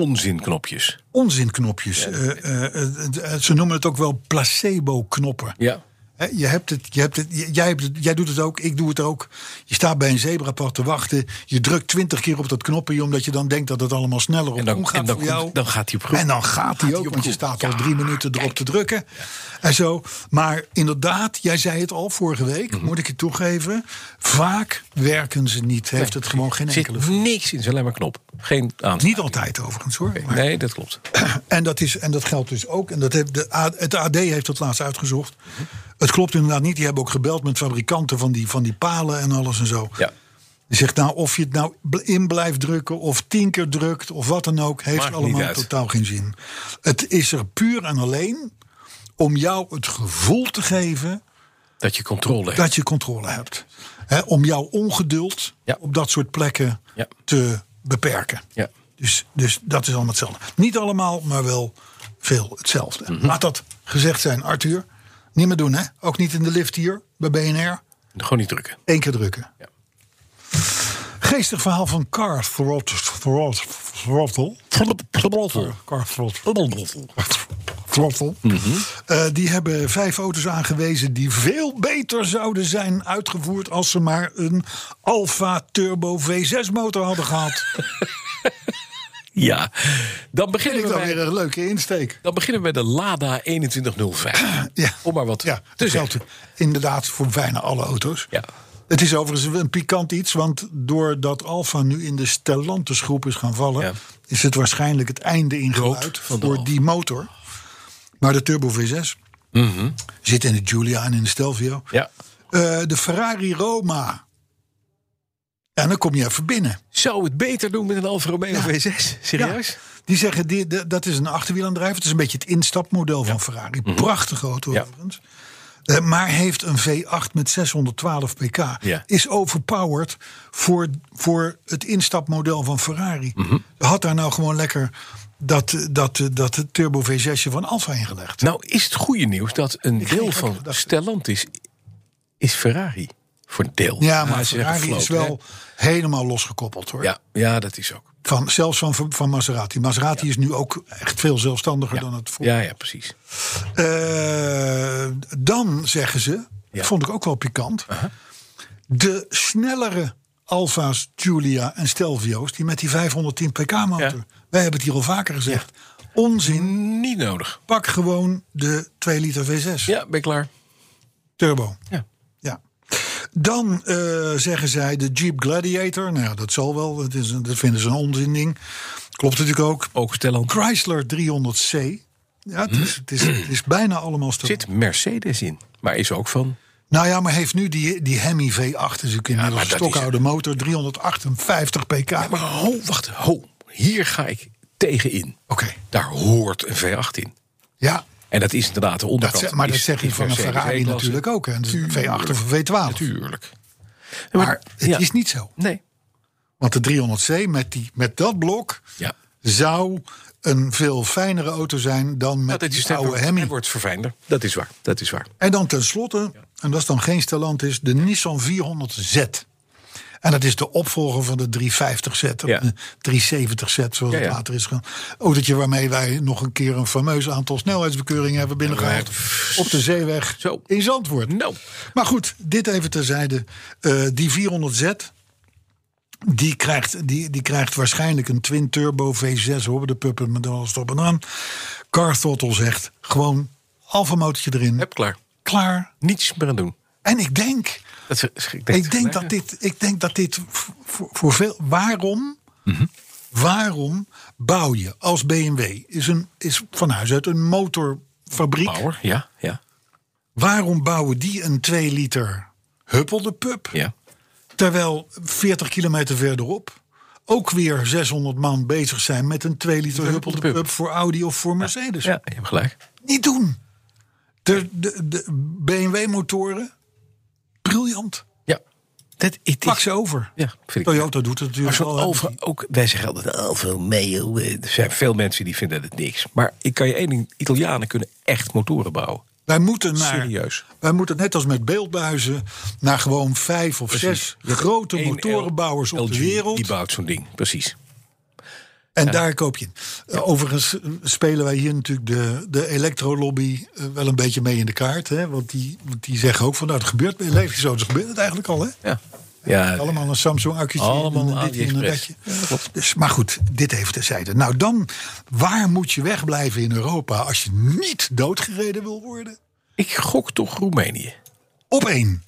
Speaker 6: Onzinknopjes.
Speaker 2: Onzinknopjes. Eh, eh, eh, eh, ze noemen het ook wel placebo-knoppen.
Speaker 6: Ja.
Speaker 2: Hè, Je hebt het, je hebt het, j- jij, hebt het, jij doet het ook, ik doe het ook. Je staat bij een zebrapad te wachten. Je drukt twintig keer op dat knopje, omdat je dan denkt dat het allemaal sneller op
Speaker 6: En dan,
Speaker 2: groen
Speaker 6: en
Speaker 2: gaat
Speaker 6: dan,
Speaker 2: voor
Speaker 6: komt-
Speaker 2: jou.
Speaker 6: dan gaat hij op groen.
Speaker 2: En dan gaat hij
Speaker 6: die
Speaker 2: ook,
Speaker 6: op
Speaker 2: want je
Speaker 6: groen.
Speaker 2: staat al drie minuten erop te drukken. En zo. Maar inderdaad, jij zei het al vorige week,
Speaker 6: Mhm.
Speaker 2: moet ik je toegeven. Vaak werken ze niet. Heeft het gewoon geen
Speaker 6: Er
Speaker 2: enkele.
Speaker 6: zit niks in, het is alleen maar knop. Geen aanzet.
Speaker 2: Niet altijd overigens hoor. Maar-
Speaker 6: Nee, dat klopt.
Speaker 2: En, dat is, en dat geldt dus ook. En dat heeft de, A- het AD heeft dat laatst uitgezocht. Het klopt inderdaad niet. Die hebben ook gebeld met fabrikanten van die, van die palen en alles en zo.
Speaker 6: Ja.
Speaker 2: Die zegt nou of je het nou bl- in blijft drukken of tien keer drukt of wat dan ook, heeft
Speaker 6: Maakt niet
Speaker 2: allemaal
Speaker 6: uit.
Speaker 2: totaal geen zin. Het is er puur en alleen om jou het gevoel te geven
Speaker 6: Dat je controle hebt.
Speaker 2: dat je controle hebt. Hè, om jouw ongeduld
Speaker 6: Ja.
Speaker 2: op dat soort plekken
Speaker 6: Ja.
Speaker 2: te beperken.
Speaker 6: Ja.
Speaker 2: Dus, dus dat is allemaal hetzelfde. Niet allemaal, maar wel veel hetzelfde.
Speaker 6: Mhm.
Speaker 2: Laat dat gezegd zijn, Arthur. Niet meer doen, hè? Ook niet in de lift hier bij BNR.
Speaker 6: Gewoon niet drukken.
Speaker 2: Eén keer drukken.
Speaker 6: Ja.
Speaker 2: Geestig verhaal van Car Throttle. Throttle. Throttle. Car Throttle. Throttle.
Speaker 6: Mhm.
Speaker 2: Eh, die hebben vijf auto's aangewezen die veel beter zouden zijn uitgevoerd als ze maar een Alfa Turbo V6 motor hadden gehad.
Speaker 6: Ja. Dan beginnen,
Speaker 2: Vind
Speaker 6: we
Speaker 2: ik dan
Speaker 6: bij,
Speaker 2: weer eh, een leuke insteek.
Speaker 6: dan beginnen we bij de Lada 2105.
Speaker 2: Ja.
Speaker 6: Om maar wat
Speaker 2: Ja,
Speaker 6: te
Speaker 2: dat geldt
Speaker 6: zeggen.
Speaker 2: inderdaad voor bijna alle auto's.
Speaker 6: Ja.
Speaker 2: Het is overigens een pikant iets, want doordat Alfa nu in de Stellantis groep is gaan vallen,
Speaker 6: Ja.
Speaker 2: is het waarschijnlijk het einde in geluid
Speaker 6: van de
Speaker 2: voor
Speaker 6: Alfa.
Speaker 2: die motor. Maar de Turbo V6
Speaker 6: Mhm.
Speaker 2: zit in de Giulia en in de Stelvio.
Speaker 6: Ja.
Speaker 2: Eh, de Ferrari Roma. En dan kom je even binnen.
Speaker 6: Zou het beter doen met een Alfa Romeo V6? Serieus?
Speaker 2: Ja. Die zeggen, die, de- dat is een achterwielaandrijf. Het is een beetje het instapmodel van Ferrari. Prachtige auto
Speaker 6: Mhm. Ja.
Speaker 2: overigens. Eh, maar heeft een V8 met 612 pk.
Speaker 6: Ja.
Speaker 2: Is overpowered voor, voor het instapmodel van Ferrari.
Speaker 6: Mhm.
Speaker 2: Had daar nou gewoon lekker dat, dat, dat turbo V6 van Alfa ingelegd.
Speaker 6: Nou is het goede nieuws dat een
Speaker 2: geen
Speaker 6: deel
Speaker 2: gekke
Speaker 6: van
Speaker 2: gedachte.
Speaker 6: Stellantis is Ferrari. Voor een deel.
Speaker 2: Ja, maar
Speaker 6: Ah, ze zeggen
Speaker 2: Ferrari is
Speaker 6: float, hè?
Speaker 2: wel helemaal losgekoppeld hoor.
Speaker 6: Ja, ja, dat is ook.
Speaker 2: Van, zelfs van, van Maserati. Maserati is nu ook echt veel zelfstandiger dan het vroeger.
Speaker 6: Ja, ja, precies.
Speaker 2: Eh, dan zeggen ze,
Speaker 6: Ja.
Speaker 2: vond ik ook wel pikant, de snellere Alfa's, Giulia en Stelvio's, die met die 510 pk motor,
Speaker 6: Ja.
Speaker 2: wij hebben het hier al vaker gezegd, onzin,
Speaker 6: Niet nodig.
Speaker 2: pak gewoon de 2 liter V6
Speaker 6: Ja, ben ik klaar.
Speaker 2: turbo.
Speaker 6: Ja.
Speaker 2: Ja. Dan eh, zeggen zij de Jeep Gladiator, nou ja, dat zal wel, dat, is een- dat vinden ze een onzin ding, klopt natuurlijk ook.
Speaker 6: Ook Stellantis.
Speaker 2: Chrysler 300C, ja, het is, het is, het is bijna allemaal Stelvio.
Speaker 6: Hmm. Zit Mercedes in, maar is ook van.
Speaker 2: Nou ja, maar heeft nu die, die Hemi V8, dus ik
Speaker 6: maar
Speaker 2: inmiddels
Speaker 6: dat
Speaker 2: een stokoude motor, 358 pk.
Speaker 6: Maar ho, wacht, ho. Hier ga ik tegenin.
Speaker 2: Oké,
Speaker 6: Daar hoort een V8 in.
Speaker 2: ja,
Speaker 6: En dat is inderdaad de
Speaker 2: dat
Speaker 6: onderkant.
Speaker 2: zeg, maar dat
Speaker 6: is-
Speaker 2: zeg je
Speaker 6: is
Speaker 2: van een
Speaker 6: Mercedes
Speaker 2: Ferrari
Speaker 6: E-klasse.
Speaker 2: natuurlijk ook. Hè. Dus een V8 of een V12.
Speaker 6: Tuurlijk.
Speaker 2: Maar het
Speaker 6: ja.
Speaker 2: is niet zo.
Speaker 6: Nee.
Speaker 2: Want de 300C met, die, met dat blok
Speaker 6: Ja.
Speaker 2: zou een veel fijnere auto zijn dan met
Speaker 6: dat is
Speaker 2: die
Speaker 6: hij
Speaker 2: oude
Speaker 6: wordt, hij
Speaker 2: Hemi.
Speaker 6: wordt verfijnder. Dat is waar. Dat is waar.
Speaker 2: En dan tenslotte, en dat is dan geen Stellantis, de Nissan 400Z. En dat is de opvolger van de 350Z, of
Speaker 6: Ja.
Speaker 2: de 370Z, zoals
Speaker 6: Ja,
Speaker 2: het
Speaker 6: ja.
Speaker 2: later is gaan. Autootje waarmee wij nog een keer een fameus aantal snelheidsbekeuringen hebben binnengehaald. Op de zeeweg
Speaker 6: Zo.
Speaker 2: in Zandvoort.
Speaker 6: Nou.
Speaker 2: Maar goed, dit even terzijde. Eh die 400Z, Die krijgt, die, die krijgt waarschijnlijk een twin turbo V6 hoor. De puppen met alles erop en aan. Car Throttle zegt gewoon alfa motortje erin.
Speaker 6: Heb klaar.
Speaker 2: Klaar.
Speaker 6: Niets meer aan doen.
Speaker 2: En ik denk,
Speaker 6: Dat is, ik denk,
Speaker 2: ik denk, dat, dit, ik denk dat dit voor, voor veel. Waarom?
Speaker 6: Mhm.
Speaker 2: Waarom bouw je als BMW? Is, een, is van huis uit een motorfabriek.
Speaker 6: Power, ja, ja,
Speaker 2: Waarom bouwen die een 2 liter huppel de pup?
Speaker 6: ja.
Speaker 2: Terwijl 40 kilometer verderop ook weer 600 man bezig zijn met een 2 liter huppel de
Speaker 6: pup.
Speaker 2: pup voor Audi of voor Mercedes.
Speaker 6: Ja, je hebt gelijk.
Speaker 2: Niet doen. De, de, de BMW-motoren, briljant.
Speaker 6: Ja. Dat, het
Speaker 2: Pak
Speaker 6: is-
Speaker 2: ze over.
Speaker 6: Ja, vind ik.
Speaker 2: Toyota doet het
Speaker 6: Maar
Speaker 2: natuurlijk
Speaker 6: zo'n
Speaker 2: al. hè.
Speaker 6: over, ook, wij zeggen altijd Alfa Romeo. eh, Er zijn veel mensen die vinden het niks. Maar ik kan je één ding, Italianen kunnen echt motoren bouwen.
Speaker 2: Wij moeten naar,
Speaker 6: Serieus.
Speaker 2: Wij moeten net als met beeldbuizen naar gewoon vijf of zes
Speaker 6: Je hebt
Speaker 2: grote
Speaker 6: één L-
Speaker 2: motorenbouwers op
Speaker 6: LG,
Speaker 2: de wereld.
Speaker 6: Die bouwt zo'n ding, precies.
Speaker 2: En daar koop je in. Uh, Overigens uh, spelen wij hier natuurlijk de, de elektrolobby eh, wel een beetje mee in de kaart. Hè? Want, die, want die zeggen ook van nou, het gebeurt bij elektrisch gebeurt het eigenlijk al. Hè?
Speaker 6: Ja. ja
Speaker 2: Allemaal een Samsung accu'tje
Speaker 6: Allemaal
Speaker 2: en een dit en een
Speaker 6: AliExpress.
Speaker 2: datje. Dus, maar goed, dit even terzijde. Nou dan, waar moet je wegblijven in Europa als je niet doodgereden wil worden?
Speaker 6: Ik gok toch Roemenië.
Speaker 2: Op één,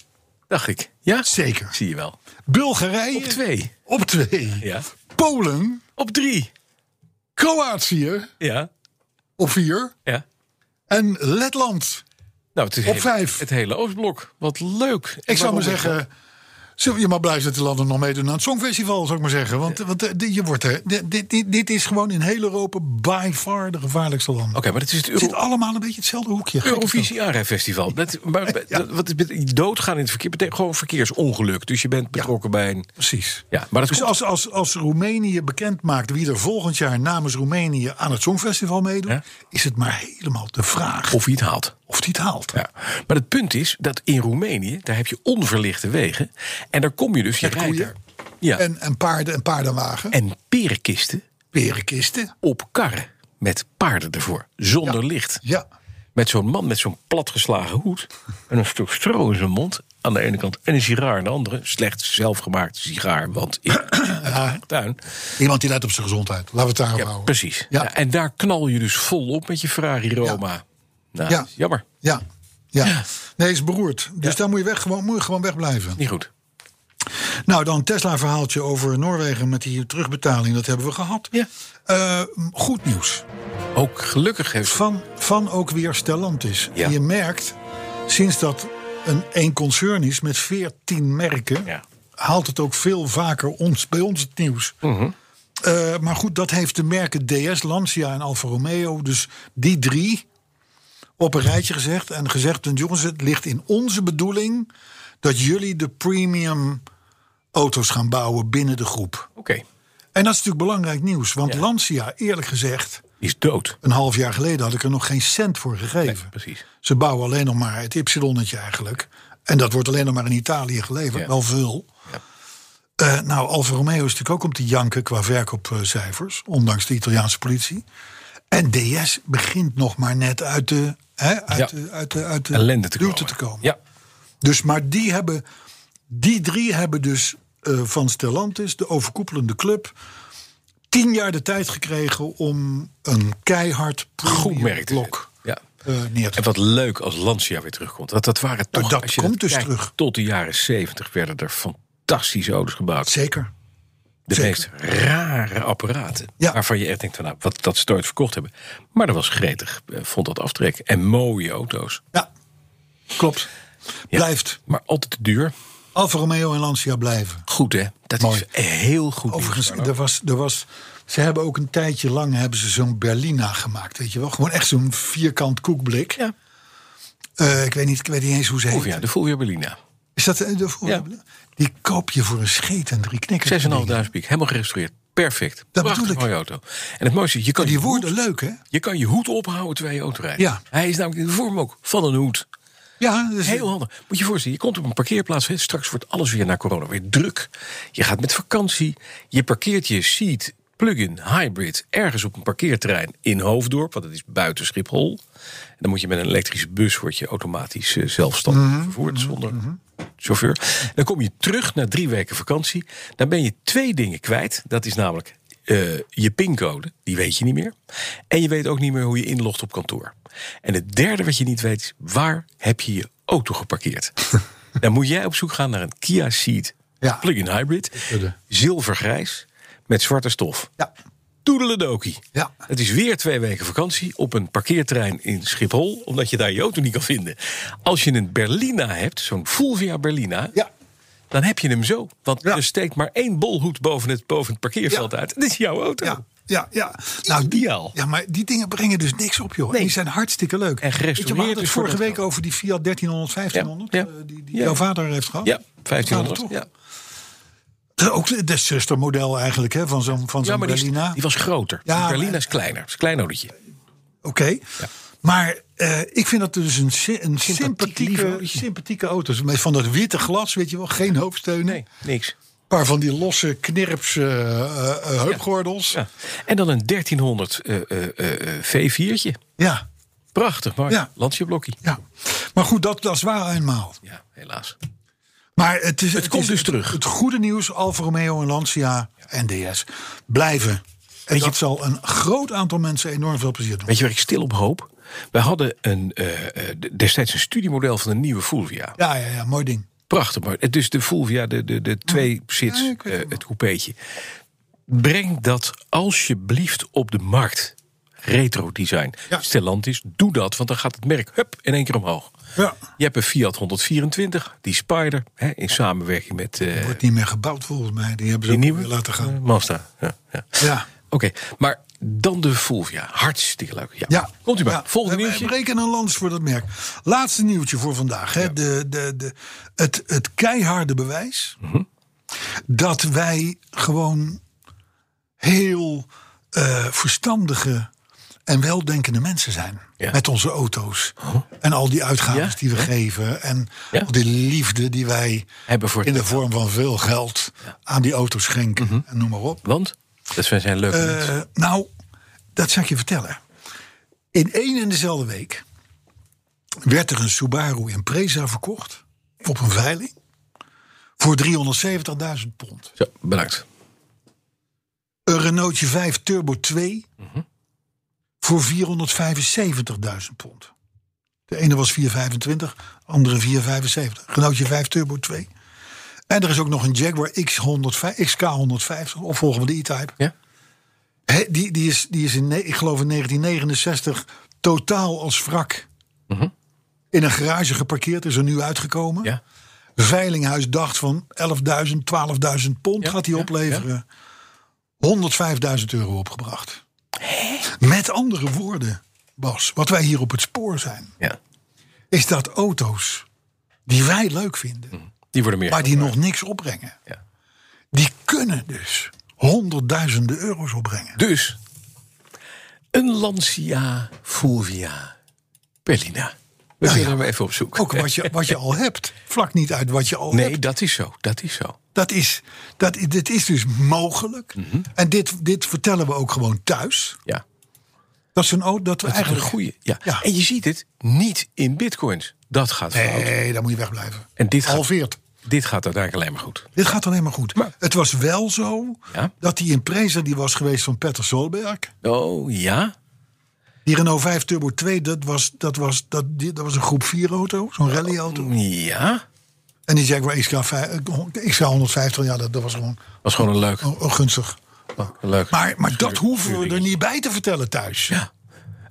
Speaker 6: Dacht ik. Ja?
Speaker 2: zeker.
Speaker 6: Zie je wel.
Speaker 2: Bulgarije.
Speaker 6: Op twee.
Speaker 2: Op twee.
Speaker 6: Ja.
Speaker 2: Polen.
Speaker 6: Op drie.
Speaker 2: Kroatië.
Speaker 6: Ja.
Speaker 2: Op vier.
Speaker 6: Ja.
Speaker 2: En Letland.
Speaker 6: Nou, het is
Speaker 2: Op
Speaker 6: hele-
Speaker 2: vijf.
Speaker 6: Het hele Oostblok. Wat leuk.
Speaker 2: Ik zou
Speaker 6: Waarom
Speaker 2: maar zeggen. zo- Je mag blij zijn dat de landen nog meedoen aan het Songfestival, zou ik maar zeggen. Want, want eh, dit- je wordt er, dit, dit- dit, dit is gewoon in heel Europa by far de gevaarlijkste land.
Speaker 6: Oké, maar dat is het
Speaker 2: Het
Speaker 6: Euro
Speaker 2: zit allemaal een beetje hetzelfde hoekje. Gek
Speaker 6: Eurovisie aanrijfestival. Dat, maar, dat- wat is met- doodgaan in het verkeer betekent gewoon verkeersongeluk. Dus je bent betrokken bij een.
Speaker 2: genoeg. Precies.
Speaker 6: Ja, maar dat
Speaker 2: Dus
Speaker 6: komt-
Speaker 2: als, als, als Roemenië bekend maakt wie er volgend jaar namens Roemenië aan het Songfestival meedoet,
Speaker 6: Ja.
Speaker 2: is het maar helemaal de vraag
Speaker 6: Of wie het haalt.
Speaker 2: of die het haalt.
Speaker 6: Ja. Maar het punt is dat in Roemenië, daar heb je onverlichte wegen. En daar kom je dus, je
Speaker 2: Met
Speaker 6: rijdt
Speaker 2: koeien.
Speaker 6: daar- Ja, en,
Speaker 2: En, en paarden en paardenwagen.
Speaker 6: perenkisten
Speaker 2: perenkisten.
Speaker 6: op karren. Met paarden ervoor, zonder licht.
Speaker 2: Ja.
Speaker 6: Met zo'n man met zo'n platgeslagen hoed. En een stuk stro in zijn mond. Aan de ene kant. En een sigaar aan de andere. Slecht zelfgemaakte sigaar. Want in de tuin.
Speaker 2: Iemand die let op zijn gezondheid. Laten we het daarop
Speaker 6: Ja,
Speaker 2: houden.
Speaker 6: precies.
Speaker 2: Ja.
Speaker 6: Ja, en daar knal je dus vol op met je Ferrari Roma. Nou,
Speaker 2: Ja.
Speaker 6: dat is jammer.
Speaker 2: Ja. Ja.
Speaker 6: Ja.
Speaker 2: Nee, is beroerd. Dus daar moet je, weg, gewoon, moet je gewoon wegblijven.
Speaker 6: Niet goed.
Speaker 2: Nou, dan Tesla-verhaaltje over Noorwegen met die terugbetaling. Dat hebben we gehad.
Speaker 6: Ja.
Speaker 2: Eh, goed nieuws.
Speaker 6: Ook gelukkig heeft...
Speaker 2: Van, van ook weer Stellantis.
Speaker 6: Ja.
Speaker 2: Je merkt, sinds dat een één concern is met 14 merken...
Speaker 6: Ja.
Speaker 2: haalt het ook veel vaker ons, bij ons het nieuws.
Speaker 6: Mhm.
Speaker 2: Eh, maar goed, dat heeft de merken DS, Lancia en Alfa Romeo... dus die drie op een rijtje gezegd. En gezegd, jongens, het ligt in onze bedoeling... dat jullie de premium auto's gaan bouwen binnen de groep.
Speaker 6: Oké,
Speaker 2: En dat is natuurlijk belangrijk nieuws. Want Lancia, eerlijk gezegd...
Speaker 6: die is dood.
Speaker 2: Een half jaar geleden had ik er nog geen cent voor gegeven.
Speaker 6: Precies.
Speaker 2: Ze bouwen alleen nog maar het Y-netje eigenlijk. En dat wordt alleen nog maar in Italië geleverd.
Speaker 6: Ja.
Speaker 2: Wel veel. Eh, nou, Alfa Romeo is natuurlijk ook om te janken qua verkoopcijfers. Ondanks de Italiaanse politie. En DS begint nog maar net uit de, hè, uit
Speaker 6: Ja.
Speaker 2: de, uit de, uit de
Speaker 6: Ellende te
Speaker 2: duwte
Speaker 6: komen.
Speaker 2: te komen.
Speaker 6: Ja,
Speaker 2: Dus, maar die, hebben, die drie hebben dus eh, van Stellantis, de overkoepelende club... tien jaar de tijd gekregen om een keihard
Speaker 6: goed merk. te
Speaker 2: blok
Speaker 6: zetten. Ja.
Speaker 2: neer te
Speaker 6: En wat leuk als Lancia weer terugkomt. Dat, dat waren toch,
Speaker 2: dat
Speaker 6: als je
Speaker 2: komt dus
Speaker 6: kijkt,
Speaker 2: terug.
Speaker 6: Tot de jaren zeventig werden er fantastische auto's gebouwd.
Speaker 2: Zeker.
Speaker 6: De
Speaker 2: zeker.
Speaker 6: meest rare apparaten.
Speaker 2: Ja.
Speaker 6: Waarvan je echt denkt, van, nou, wat, dat ze nooit verkocht hebben. Maar dat was gretig, eh, vond dat aftrek. En mooie auto's.
Speaker 2: Ja, klopt. Blijft.
Speaker 6: Maar altijd te duur.
Speaker 2: Alfa Romeo en Lancia blijven.
Speaker 6: Goed hè, dat
Speaker 2: Mooi.
Speaker 6: is heel goed. nieuws,
Speaker 2: Overigens,
Speaker 6: Arno.
Speaker 2: er was, er was, ze hebben ook een tijdje lang hebben ze zo'n Berlina gemaakt, weet je wel? Gewoon echt zo'n vierkant koekblik.
Speaker 6: Ja.
Speaker 2: Eh, ik, weet niet, ik weet niet eens hoe ze heet.
Speaker 6: Of ja, de Fulvia Berlina.
Speaker 2: Is dat eh, de voorbeeld? Die koop je voor een scheet en drie knikkers.
Speaker 6: 6.500 piek, helemaal gerestaureerd. Perfect.
Speaker 2: Dat bedoel
Speaker 6: Prachtig
Speaker 2: ik.
Speaker 6: mooie auto. En het mooiste, je kan,
Speaker 2: Die
Speaker 6: je hoed,
Speaker 2: woorden leuk, hè?
Speaker 6: je kan je hoed ophouden terwijl je auto rijdt.
Speaker 2: Ja.
Speaker 6: Hij is namelijk in de vorm ook van een hoed.
Speaker 2: Ja, dus- dat is
Speaker 6: Heel handig. Moet je je voorstellen, je komt op een parkeerplaats. Hè, straks wordt alles weer na corona weer druk. Je gaat met vakantie. Je parkeert je Seat plug-in hybrid ergens op een parkeerterrein in Hoofddorp. Want dat is buiten Schiphol. En dan moet je met een elektrische bus word je automatisch eh, zelfstandig vervoerd. Zonder chauffeur. Dan kom je terug na drie weken vakantie. Dan ben je twee dingen kwijt. Dat is namelijk eh, je pincode, die weet je niet meer. En je weet ook niet meer hoe je inlogt op kantoor. En het derde wat je niet weet is, waar heb je je auto geparkeerd? Dan moet jij op zoek gaan naar een Kia Ceed
Speaker 2: Ja.
Speaker 6: plug-in hybrid.
Speaker 2: wilde.
Speaker 6: Zilvergrijs met zwarte stof.
Speaker 2: Ja.
Speaker 6: Toedeledokie.
Speaker 2: Ja.
Speaker 6: Het is weer twee weken vakantie op een parkeerterrein in Schiphol, omdat je daar je auto niet kan vinden. Als je een Berlina hebt, zo'n Fulvia Berlina,
Speaker 2: Ja.
Speaker 6: dan heb je hem zo. Want
Speaker 2: Ja.
Speaker 6: er steekt maar één bolhoed boven het, boven het parkeerveld
Speaker 2: Ja.
Speaker 6: uit. Dat is jouw auto.
Speaker 2: Ja, ja, ja. Nou,
Speaker 6: Ideaal.
Speaker 2: Ja, maar die dingen brengen dus niks op, joh. En Die zijn hartstikke leuk.
Speaker 6: En gerestaureerd
Speaker 2: Weet je, we hadden
Speaker 6: is
Speaker 2: het
Speaker 6: voor
Speaker 2: vorige
Speaker 6: dat
Speaker 2: week
Speaker 6: geld.
Speaker 2: over die Fiat 1300, 1500.
Speaker 6: Ja, ja.
Speaker 2: eh, die die
Speaker 6: Ja.
Speaker 2: jouw vader heeft gehad.
Speaker 6: Ja,
Speaker 2: Vader
Speaker 6: 1500.
Speaker 2: toch?
Speaker 6: Ja.
Speaker 2: Dat is Ook het zustermodel eigenlijk, hè, van zo'n van
Speaker 6: ja,
Speaker 2: zo'n
Speaker 6: maar die, is-
Speaker 2: Berlina.
Speaker 6: die was groter.
Speaker 2: Ja,
Speaker 6: die Berlina
Speaker 2: maar-
Speaker 6: is kleiner. Het is een klein autootje.
Speaker 2: Oké. Maar eh, ik vind dat dus een, sy- een
Speaker 6: lief
Speaker 2: sympathieke,
Speaker 6: autootje.
Speaker 2: sympathieke auto's. Met van dat witte glas, weet je wel. Geen hoofdsteunen.
Speaker 6: Nee, niks.
Speaker 2: Een paar van die losse knirps eh, eh, eh, heupgordels. Ja.
Speaker 6: Ja. En dan een 1300 eh, eh, eh, V4'tje.
Speaker 2: ja,
Speaker 6: Prachtig, maar
Speaker 2: Ja.
Speaker 6: landjeblokkie.
Speaker 2: Maar goed, dat, dat is waar eenmaal.
Speaker 6: Ja, helaas.
Speaker 2: Maar het, is,
Speaker 6: komt
Speaker 2: is-
Speaker 6: dus terug.
Speaker 2: Het goede nieuws, Alfa Romeo en Lancia en DS blijven. En dat zal een groot aantal mensen enorm veel plezier doen.
Speaker 6: Weet je waar ik stil op hoop? We hadden een, eh, eh, d- destijds een studiemodel van de nieuwe Fulvia.
Speaker 2: Ja, ja, ja, mooi ding.
Speaker 6: Prachtig, maar het is de Fulvia, de, de, de twee-sits,
Speaker 2: Ja, ik weet
Speaker 6: eh,
Speaker 2: het wel.
Speaker 6: het coupeetje. Breng dat alsjeblieft op de markt. Retro design.
Speaker 2: Ja.
Speaker 6: Stellantis, doe dat, want dan gaat het merk hup, in één keer omhoog.
Speaker 2: Ja.
Speaker 6: Je hebt een Fiat 124, die Spider, hè, in samenwerking met eh,
Speaker 2: Wordt niet meer gebouwd volgens mij. Die hebben ze
Speaker 6: die
Speaker 2: ook
Speaker 6: nieuwe
Speaker 2: weer laten gaan.
Speaker 6: eh, Mazda. Ja, ja.
Speaker 2: Ja.
Speaker 6: Oké, maar dan de Fulvia. Hartstikke leuk. Ja.
Speaker 2: Ja.
Speaker 6: Komt u maar.
Speaker 2: Ja.
Speaker 6: Volgende
Speaker 2: Wij-
Speaker 6: nieuwtje.
Speaker 2: Wij breken een lans voor dat merk. Laatste nieuwtje voor vandaag. Hè. De, de, de, het, het keiharde bewijs
Speaker 6: Mhm.
Speaker 2: dat wij gewoon heel eh, verstandige en weldenkende mensen zijn.
Speaker 6: Ja.
Speaker 2: Met onze auto's. En al die uitgaven
Speaker 6: Ja,
Speaker 2: die we
Speaker 6: ja.
Speaker 2: geven. En
Speaker 6: Ja.
Speaker 2: al die liefde die wij
Speaker 6: Hebben voor-
Speaker 2: in de vorm van veel geld aan die auto's schenken.
Speaker 6: Mhm.
Speaker 2: En noem maar op.
Speaker 6: Want? Dat zijn zijn leuke
Speaker 2: Eh,
Speaker 6: mensen.
Speaker 2: nou, dat zal ik je vertellen. In één en dezelfde week werd er een Subaru Impreza verkocht op een veiling voor 370.000 pond.
Speaker 6: Zo, bedankt.
Speaker 2: Een Renaultje 5 Turbo 2 voor 475.000 pond. De ene was 425, andere 475. Renaultje 5 Turbo 2. En er is ook nog een Jaguar X100, XK150, opvolger van de E-Type.
Speaker 6: Ja?
Speaker 2: Hè, die, die, is, die is in, ne- ik geloof in 1969 totaal als wrak in een garage geparkeerd. Is er nu uitgekomen.
Speaker 6: Mhm. Ja.
Speaker 2: Veilinghuis dacht van 11.000, 12.000 pond
Speaker 6: Ja,
Speaker 2: gaat hij
Speaker 6: ja,
Speaker 2: opleveren. 105.000 euro opgebracht. Met andere woorden, Bas, wat wij hier op het spoor zijn,
Speaker 6: Ja.
Speaker 2: is dat auto's die wij leuk vinden,
Speaker 6: Die worden meer.
Speaker 2: maar die nog niks opbrengen,
Speaker 6: Ja.
Speaker 2: die kunnen dus honderdduizenden euro's opbrengen.
Speaker 6: Dus, een Lancia Fulvia Berlina. We zullen hem even op zoek.
Speaker 2: Ook Oh, wat je, wat je al hebt, vlak niet uit wat je al hebt.
Speaker 6: Nee, dat is zo. Dat is zo.
Speaker 2: Dat is, dat, i- dit is dus mogelijk.
Speaker 6: Mhm.
Speaker 2: En dit, dit vertellen we ook gewoon thuis.
Speaker 6: Ja.
Speaker 2: Dat is een auto dat we
Speaker 6: Dat is een
Speaker 2: eigenlijk.
Speaker 6: goede. Ja.
Speaker 2: Ja.
Speaker 6: En je ziet het niet in bitcoins. Dat gaat fout.
Speaker 2: Nee, daar moet je wegblijven.
Speaker 6: En dit gaat,
Speaker 2: Halveert.
Speaker 6: dit gaat uiteindelijk alleen maar goed.
Speaker 2: Dit gaat alleen maar goed.
Speaker 6: Maar-
Speaker 2: het was wel zo
Speaker 6: Ja.
Speaker 2: dat die Impreza die was geweest van Petter Solberg.
Speaker 6: Oh ja?
Speaker 2: Die Renault 5 Turbo 2, dat was, dat was, dat, die- dat was een groep 4 auto. Zo'n rally auto.
Speaker 6: Ja?
Speaker 2: En die Jaguar XK, vij- eh, XK 150, ja, dat, dat was gewoon
Speaker 6: Was gewoon een leuk.
Speaker 2: oh, oh, gunstig.
Speaker 6: een leuk
Speaker 2: Maar, maar dat
Speaker 6: vuur-
Speaker 2: hoeven we er
Speaker 6: vuurringetje.
Speaker 2: niet bij te vertellen thuis.
Speaker 6: Ja.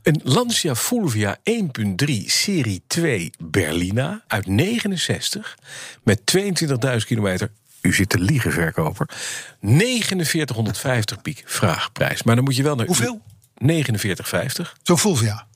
Speaker 6: Een Lancia Fulvia 1.3 Serie 2 Berlina uit 69 met 22.000 kilometer. U zit te liegen, verkoper. 4950 piek vraagprijs. Maar dan moet je wel naar...
Speaker 2: Hoeveel?
Speaker 6: 4950.
Speaker 2: Zo'n Fulvia.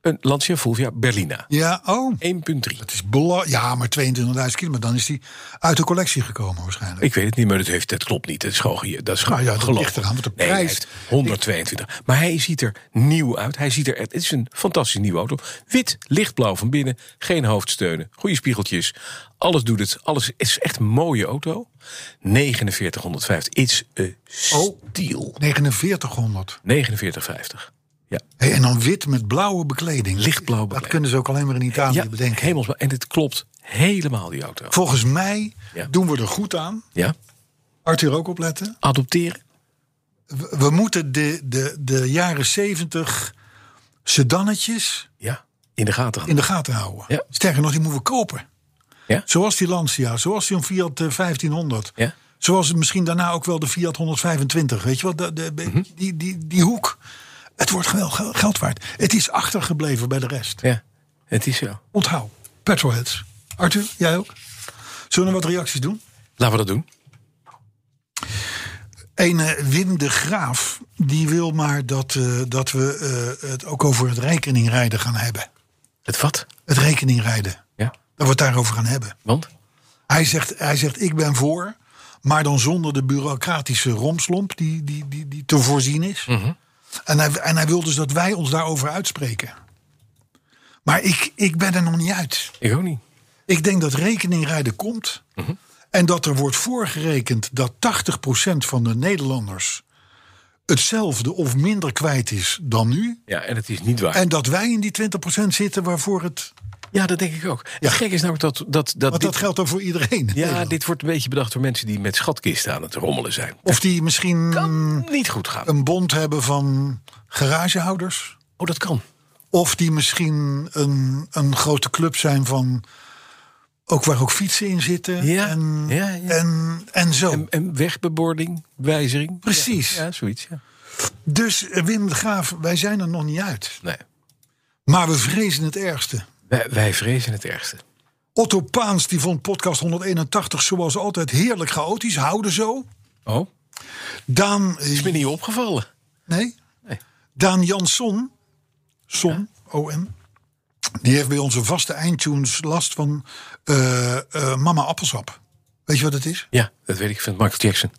Speaker 6: Een Lancia Fulvia Berlina.
Speaker 2: Ja, oh.
Speaker 6: 1.3.
Speaker 2: Het is bela- ja, maar 22.000 kilometer, dan is die uit de collectie gekomen waarschijnlijk.
Speaker 6: Ik weet het niet, maar dat, heeft, dat klopt niet. Dat is gewoon ge- dat is
Speaker 2: Nou ja, dat
Speaker 6: geloof.
Speaker 2: ligt eraan, want de
Speaker 6: Nee, hij
Speaker 2: prijs-
Speaker 6: heeft 122. Maar hij ziet er nieuw uit. Hij ziet er, het is een fantastische nieuwe auto. Wit, lichtblauw van binnen, geen hoofdsteunen, goede spiegeltjes. Alles doet het. Alles het is echt een mooie auto. 4950. It's a
Speaker 2: Oh.
Speaker 6: steal.
Speaker 2: 4900.
Speaker 6: 4950. Ja,
Speaker 2: Hey, en dan wit met blauwe bekleding.
Speaker 6: Lichtblauwe
Speaker 2: Dat
Speaker 6: bekleding.
Speaker 2: kunnen ze ook alleen maar in Italië
Speaker 6: ja
Speaker 2: bedenken.
Speaker 6: hemelsma- En dit klopt helemaal die auto.
Speaker 2: Volgens mij
Speaker 6: Ja.
Speaker 2: doen we er goed aan.
Speaker 6: Ja?
Speaker 2: Arthur ook opletten.
Speaker 6: Adopteren?
Speaker 2: We, we moeten de, de, de jaren 70 sedannetjes
Speaker 6: Ja. In de gaten
Speaker 2: in
Speaker 6: houden.
Speaker 2: de gaten houden.
Speaker 6: Ja.
Speaker 2: Sterker nog, die moeten we kopen.
Speaker 6: Ja?
Speaker 2: Zoals die Lancia, zoals die Fiat eh, 1500.
Speaker 6: Ja?
Speaker 2: Zoals misschien daarna ook wel de Fiat 125. Weet je wat? De, de-
Speaker 6: Mhm.
Speaker 2: die, die, die hoek. Het wordt wel ge- geld waard. Het is achtergebleven bij de rest.
Speaker 6: Ja. Het is zo.
Speaker 2: Onthoud. Petrolheads. Arthur, jij ook? Zullen we wat reacties doen?
Speaker 6: Laten we dat doen.
Speaker 2: Een eh, Wim de Graaf, die wil maar dat, eh, dat we eh, het ook over het rekeningrijden gaan hebben.
Speaker 6: Het wat?
Speaker 2: Het rekeningrijden.
Speaker 6: Ja.
Speaker 2: Dat we het daarover gaan hebben.
Speaker 6: Want?
Speaker 2: Hij zegt, hij zegt ik ben voor, maar dan zonder de bureaucratische romslomp die, die, die, die te voorzien is. en, hij, en hij wil dus dat wij ons daarover uitspreken. Maar ik, ik ben er nog niet uit.
Speaker 6: Ik ook niet.
Speaker 2: Ik denk dat rekeningrijden komt.
Speaker 6: Mhm.
Speaker 2: En dat er wordt voorgerekend dat 80% van de Nederlanders hetzelfde of minder kwijt is dan nu.
Speaker 6: Ja, en het is niet waar.
Speaker 2: En dat wij in die 20% zitten waarvoor het.
Speaker 6: Ja, dat denk ik ook. Het gekke is namelijk dat... dat, dat,
Speaker 2: Want
Speaker 6: dit-
Speaker 2: dat geldt dan voor iedereen.
Speaker 6: ja, dit wordt een beetje bedacht door mensen die met schatkisten aan het rommelen zijn.
Speaker 2: Of die misschien
Speaker 6: Niet goed gaan.
Speaker 2: Mm. een bond hebben van garagehouders.
Speaker 6: Oh, dat kan.
Speaker 2: Of die misschien een, een grote club zijn van. Ook waar ook fietsen in zitten.
Speaker 6: Ja,
Speaker 2: En,
Speaker 6: ja, ja.
Speaker 2: En, en zo.
Speaker 6: En, en wegbebording, wijziging.
Speaker 2: Precies.
Speaker 6: Ja, zoiets, ja.
Speaker 2: Dus eh, Wim de Graaf, wij zijn er nog niet uit.
Speaker 6: Nee,
Speaker 2: Maar we vrezen het ergste.
Speaker 6: wij, wij vrezen het ergste.
Speaker 2: Otto Paans die vond podcast 181 zoals altijd heerlijk chaotisch. Houden zo.
Speaker 6: Oh,
Speaker 2: Daan. eh,
Speaker 6: is me niet opgevallen.
Speaker 2: Nee?
Speaker 6: Nee.
Speaker 2: Daan Jansson. Son. OM. Die heeft bij onze vaste eindtunes last van eh, eh, Mama Appelsap. Weet je wat het is?
Speaker 6: Ja, dat weet ik van Michael Jackson.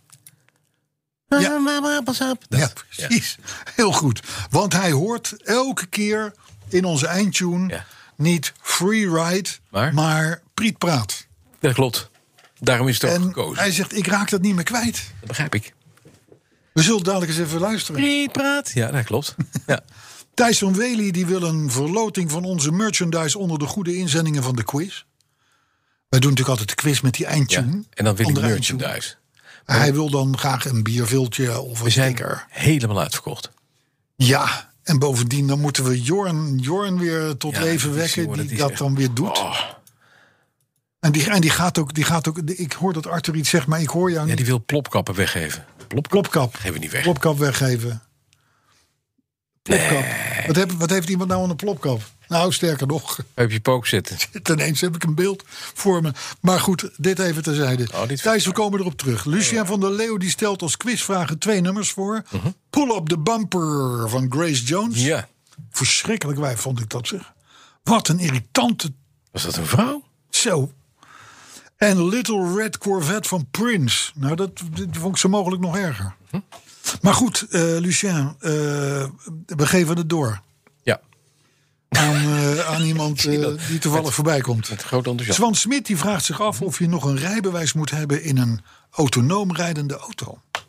Speaker 2: Ja.
Speaker 6: Mama, pas op.
Speaker 2: Ja, precies. Heel goed. Want hij hoort elke keer in onze eindtune
Speaker 6: Ja.
Speaker 2: niet free ride,
Speaker 6: Maar?
Speaker 2: maar, Priet praat.
Speaker 6: Dat klopt. Daarom is het ook
Speaker 2: En
Speaker 6: gekozen.
Speaker 2: hij zegt, ik raak dat niet meer kwijt.
Speaker 6: Dat begrijp ik.
Speaker 2: We zullen dadelijk eens even luisteren.
Speaker 6: Priet praat. Ja, dat klopt. ja.
Speaker 2: Thijs van Wely die wil een verloting van onze merchandise onder de goede inzendingen van de quiz. Wij doen natuurlijk altijd de quiz met die
Speaker 6: ja.
Speaker 2: eindtune.
Speaker 6: En dan wil ik
Speaker 2: Andere eindtune.
Speaker 6: merchandise.
Speaker 2: Hij wil dan graag een bierviltje of
Speaker 6: We
Speaker 2: een
Speaker 6: zijn
Speaker 2: sticker.
Speaker 6: helemaal uitverkocht.
Speaker 2: Ja, en bovendien dan moeten we Jorn, Jorn weer tot
Speaker 6: Ja,
Speaker 2: leven
Speaker 6: dat is-
Speaker 2: wekken.
Speaker 6: jongen,
Speaker 2: die
Speaker 6: dat
Speaker 2: dat,
Speaker 6: is echt-
Speaker 2: dan weer doet.
Speaker 6: Oh,
Speaker 2: En, die, en die, gaat ook, die gaat ook. Ik hoor dat Arthur iets zegt, maar ik hoor jou
Speaker 6: ja,
Speaker 2: niet.
Speaker 6: die wil plopkappen weggeven. Plopkap?
Speaker 2: Plopkap.
Speaker 6: Geven we niet weg.
Speaker 2: Plopkap weggeven. Plopkap. Wat, heb, wat heeft iemand nou aan een plopkap? Nou, sterker nog.
Speaker 6: Heb je pook zitten.
Speaker 2: Ineens heb ik een beeld voor me. Maar goed, dit even terzijde.
Speaker 6: dit vind ik
Speaker 2: Thijs, we komen erop terug. Lucien van der Leeuw die stelt als quizvragen twee nummers voor. Pull Up the Bumper van Grace Jones.
Speaker 6: Mhm. Ja.
Speaker 2: Verschrikkelijk wij vond ik dat zeg. Wat een irritante
Speaker 6: Was dat een vrouw?
Speaker 2: zo. En Little Red Corvette van Prince. Nou, dat, dat vond ik zo mogelijk nog erger.
Speaker 6: Hm?
Speaker 2: Maar goed, eh, Lucien, eh, we geven het door
Speaker 6: Ja.
Speaker 2: aan, eh, aan iemand eh, die toevallig voorbij komt.
Speaker 6: Met groot enthousiasme.
Speaker 2: Swan Smit die vraagt zich af of je nog een rijbewijs moet hebben in een autonoom rijdende auto. Dat is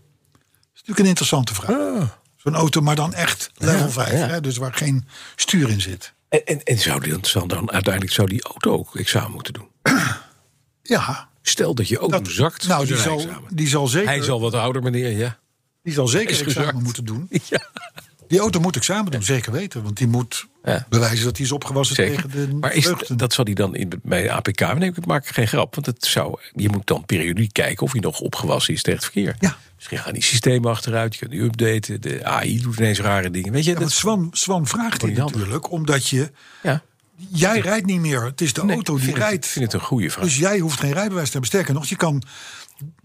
Speaker 2: natuurlijk een interessante vraag. Zo'n auto, maar dan echt level 5,
Speaker 6: Ah. ja.
Speaker 2: Hè, dus waar geen stuur in zit.
Speaker 6: En, en, en zou die, zou dan uiteindelijk zou die auto ook examen moeten doen?
Speaker 2: Ja,
Speaker 6: Stel dat je auto
Speaker 2: dat-
Speaker 6: zakt.
Speaker 2: nou,
Speaker 6: voor
Speaker 2: die
Speaker 6: zijn
Speaker 2: zal,
Speaker 6: rijexamen.
Speaker 2: die zal zeker,
Speaker 6: Hij is al wat ouder, meneer, ja.
Speaker 2: die zal zeker
Speaker 6: is
Speaker 2: examen
Speaker 6: gezakt.
Speaker 2: moeten doen.
Speaker 6: ja.
Speaker 2: Die auto moet examen doen, zeker weten. Want die moet
Speaker 6: Ja.
Speaker 2: bewijzen dat hij is opgewassen
Speaker 6: Zeker.
Speaker 2: tegen de
Speaker 6: Maar is,
Speaker 2: deugden.
Speaker 6: dat zal hij dan in, de- bij de APK. Nee, ik maak geen grap. Want het zou, je moet dan periodiek kijken of hij nog opgewassen is tegen het verkeer.
Speaker 2: Ja.
Speaker 6: Misschien gaan die systemen achteruit. Je kunt die updaten. De AI doet ineens rare dingen. Weet je,
Speaker 2: Ja,
Speaker 6: dat
Speaker 2: want
Speaker 6: is.
Speaker 2: Swan, Swan vraagt dit
Speaker 6: niet handig.
Speaker 2: natuurlijk, omdat je...
Speaker 6: Ja.
Speaker 2: Jij rijdt niet meer, het is de
Speaker 6: Nee,
Speaker 2: auto
Speaker 6: ik
Speaker 2: die
Speaker 6: vind het-
Speaker 2: rijdt.
Speaker 6: Ik vind het een goede vraag.
Speaker 2: Dus jij hoeft geen rijbewijs te hebben. Sterker nog, je kan,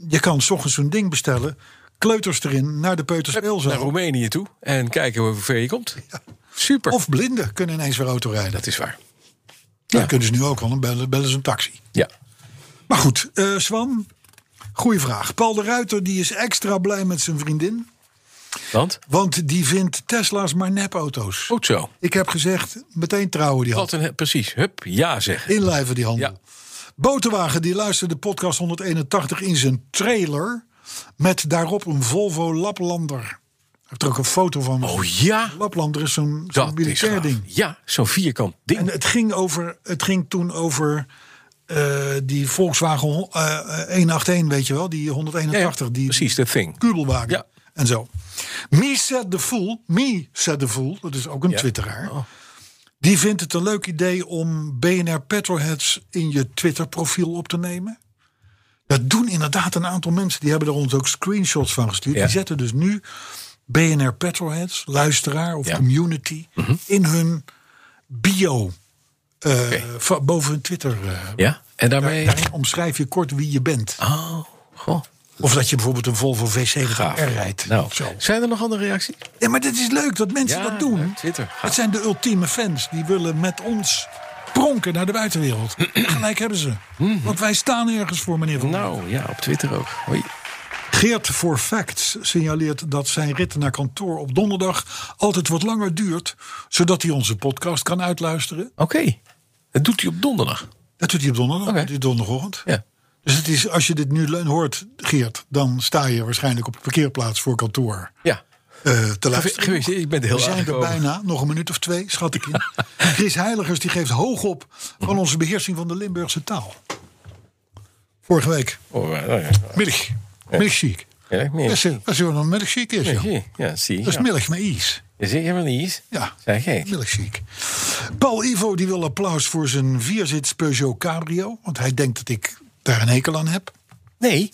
Speaker 2: je kan 's ochtends zo'n ding bestellen... kleuters erin naar de
Speaker 6: Naar
Speaker 2: peuterspeelzaal.
Speaker 6: Roemenië toe en kijken hoe ver je komt. Super.
Speaker 2: Of blinden kunnen ineens weer autorijden. Dat,
Speaker 6: dat is waar. ja.
Speaker 2: kunnen ze nu ook al, dan bellen, bellen ze een taxi.
Speaker 6: Ja.
Speaker 2: Maar goed, eh Swan, goede vraag. Paul de Ruiter die is extra blij met zijn vriendin...
Speaker 6: Want?
Speaker 2: want die vindt Tesla's maar nepauto's.
Speaker 6: Goed zo.
Speaker 2: Ik heb gezegd, meteen trouwen die
Speaker 6: Wat
Speaker 2: handel.
Speaker 6: een, precies. Hup, ja zeggen.
Speaker 2: Inlijven die handel.
Speaker 6: Ja.
Speaker 2: Botenwagen die luisterde podcast 181 in zijn trailer... met daarop een Volvo Laplander. Hij heeft er ook een foto van.
Speaker 6: Oh ja,
Speaker 2: Laplander is zo'n zo'n
Speaker 6: dat is
Speaker 2: militair
Speaker 6: gaaf.
Speaker 2: ding.
Speaker 6: Ja, zo'n vierkant ding.
Speaker 2: En het ging, over, het ging toen over eh, die Volkswagen hon- eh, eh, 181, weet je wel, die 181, die
Speaker 6: precies, dat thing.
Speaker 2: kubelwagen
Speaker 6: Ja.
Speaker 2: en zo. Me said the fool, me said the fool, dat is ook een
Speaker 6: Ja.
Speaker 2: twitteraar.
Speaker 6: Oh.
Speaker 2: Die vindt het een leuk idee om BNR Petroheads in je Twitter profiel op te nemen. Dat doen inderdaad een aantal mensen. Die hebben er ons ook screenshots van gestuurd.
Speaker 6: Ja.
Speaker 2: Die zetten dus nu BNR Petroheads, luisteraar of
Speaker 6: Ja. Mhm.
Speaker 2: community, in hun bio. eh,
Speaker 6: Oké.
Speaker 2: va- boven hun Twitter. eh,
Speaker 6: Ja, en
Speaker 2: daar-
Speaker 6: daarmee...
Speaker 2: daarin omschrijf je kort wie je bent.
Speaker 6: Oh, goh,
Speaker 2: Of dat je bijvoorbeeld een Volvo V70 R
Speaker 6: gaaf.
Speaker 2: rijdt.
Speaker 6: Nou,
Speaker 2: Zo.
Speaker 6: zijn er nog andere reacties?
Speaker 2: Ja, maar dit is leuk dat mensen
Speaker 6: Ja,
Speaker 2: dat doen.
Speaker 6: leuk, Twitter, gaaf.
Speaker 2: Het zijn de ultieme fans. Die willen met ons pronken naar de buitenwereld. Gelijk hebben ze. Want wij staan ergens voor, meneer Van Dijk.
Speaker 6: Mhm. Nou, ja, op Twitter ook. Hoi.
Speaker 2: Geert voor Facts signaleert dat zijn rit naar kantoor op donderdag altijd wat langer duurt. Zodat hij onze podcast kan uitluisteren.
Speaker 6: Oké, dat doet hij op donderdag.
Speaker 2: Dat doet hij op donderdag.
Speaker 6: Oké.
Speaker 2: Dat doet hij donderdagochtend.
Speaker 6: Ja.
Speaker 2: Dus het is, als je dit nu le- hoort, Geert, dan sta je waarschijnlijk op de parkeerplaats voor kantoor
Speaker 6: Ja,
Speaker 2: eh, te
Speaker 6: Ge-
Speaker 2: luisteren.
Speaker 6: ge- ik ben er heel
Speaker 2: We zijn er
Speaker 6: aangekomen.
Speaker 2: bijna, nog een minuut of twee, schat ik in. Chris Heiligers die geeft hoog op van onze beheersing van de Limburgse taal. Vorige week,
Speaker 6: Oh, eh, nou ja.
Speaker 2: middag, middagziek.
Speaker 6: Ja, meer.
Speaker 2: Dat is eh, dat is wel een middagziek is, ja.
Speaker 6: Ja, ja, zie
Speaker 2: Dat is
Speaker 6: je.
Speaker 2: middag met ijs.
Speaker 6: Is het helemaal niet eens?
Speaker 2: Ja,
Speaker 6: Zeg ik.
Speaker 2: middagziek. Paul Ivo die wil applaus voor zijn vierzits Peugeot Cabrio. Want hij denkt dat ik daar een hekel aan heb.
Speaker 6: Nee,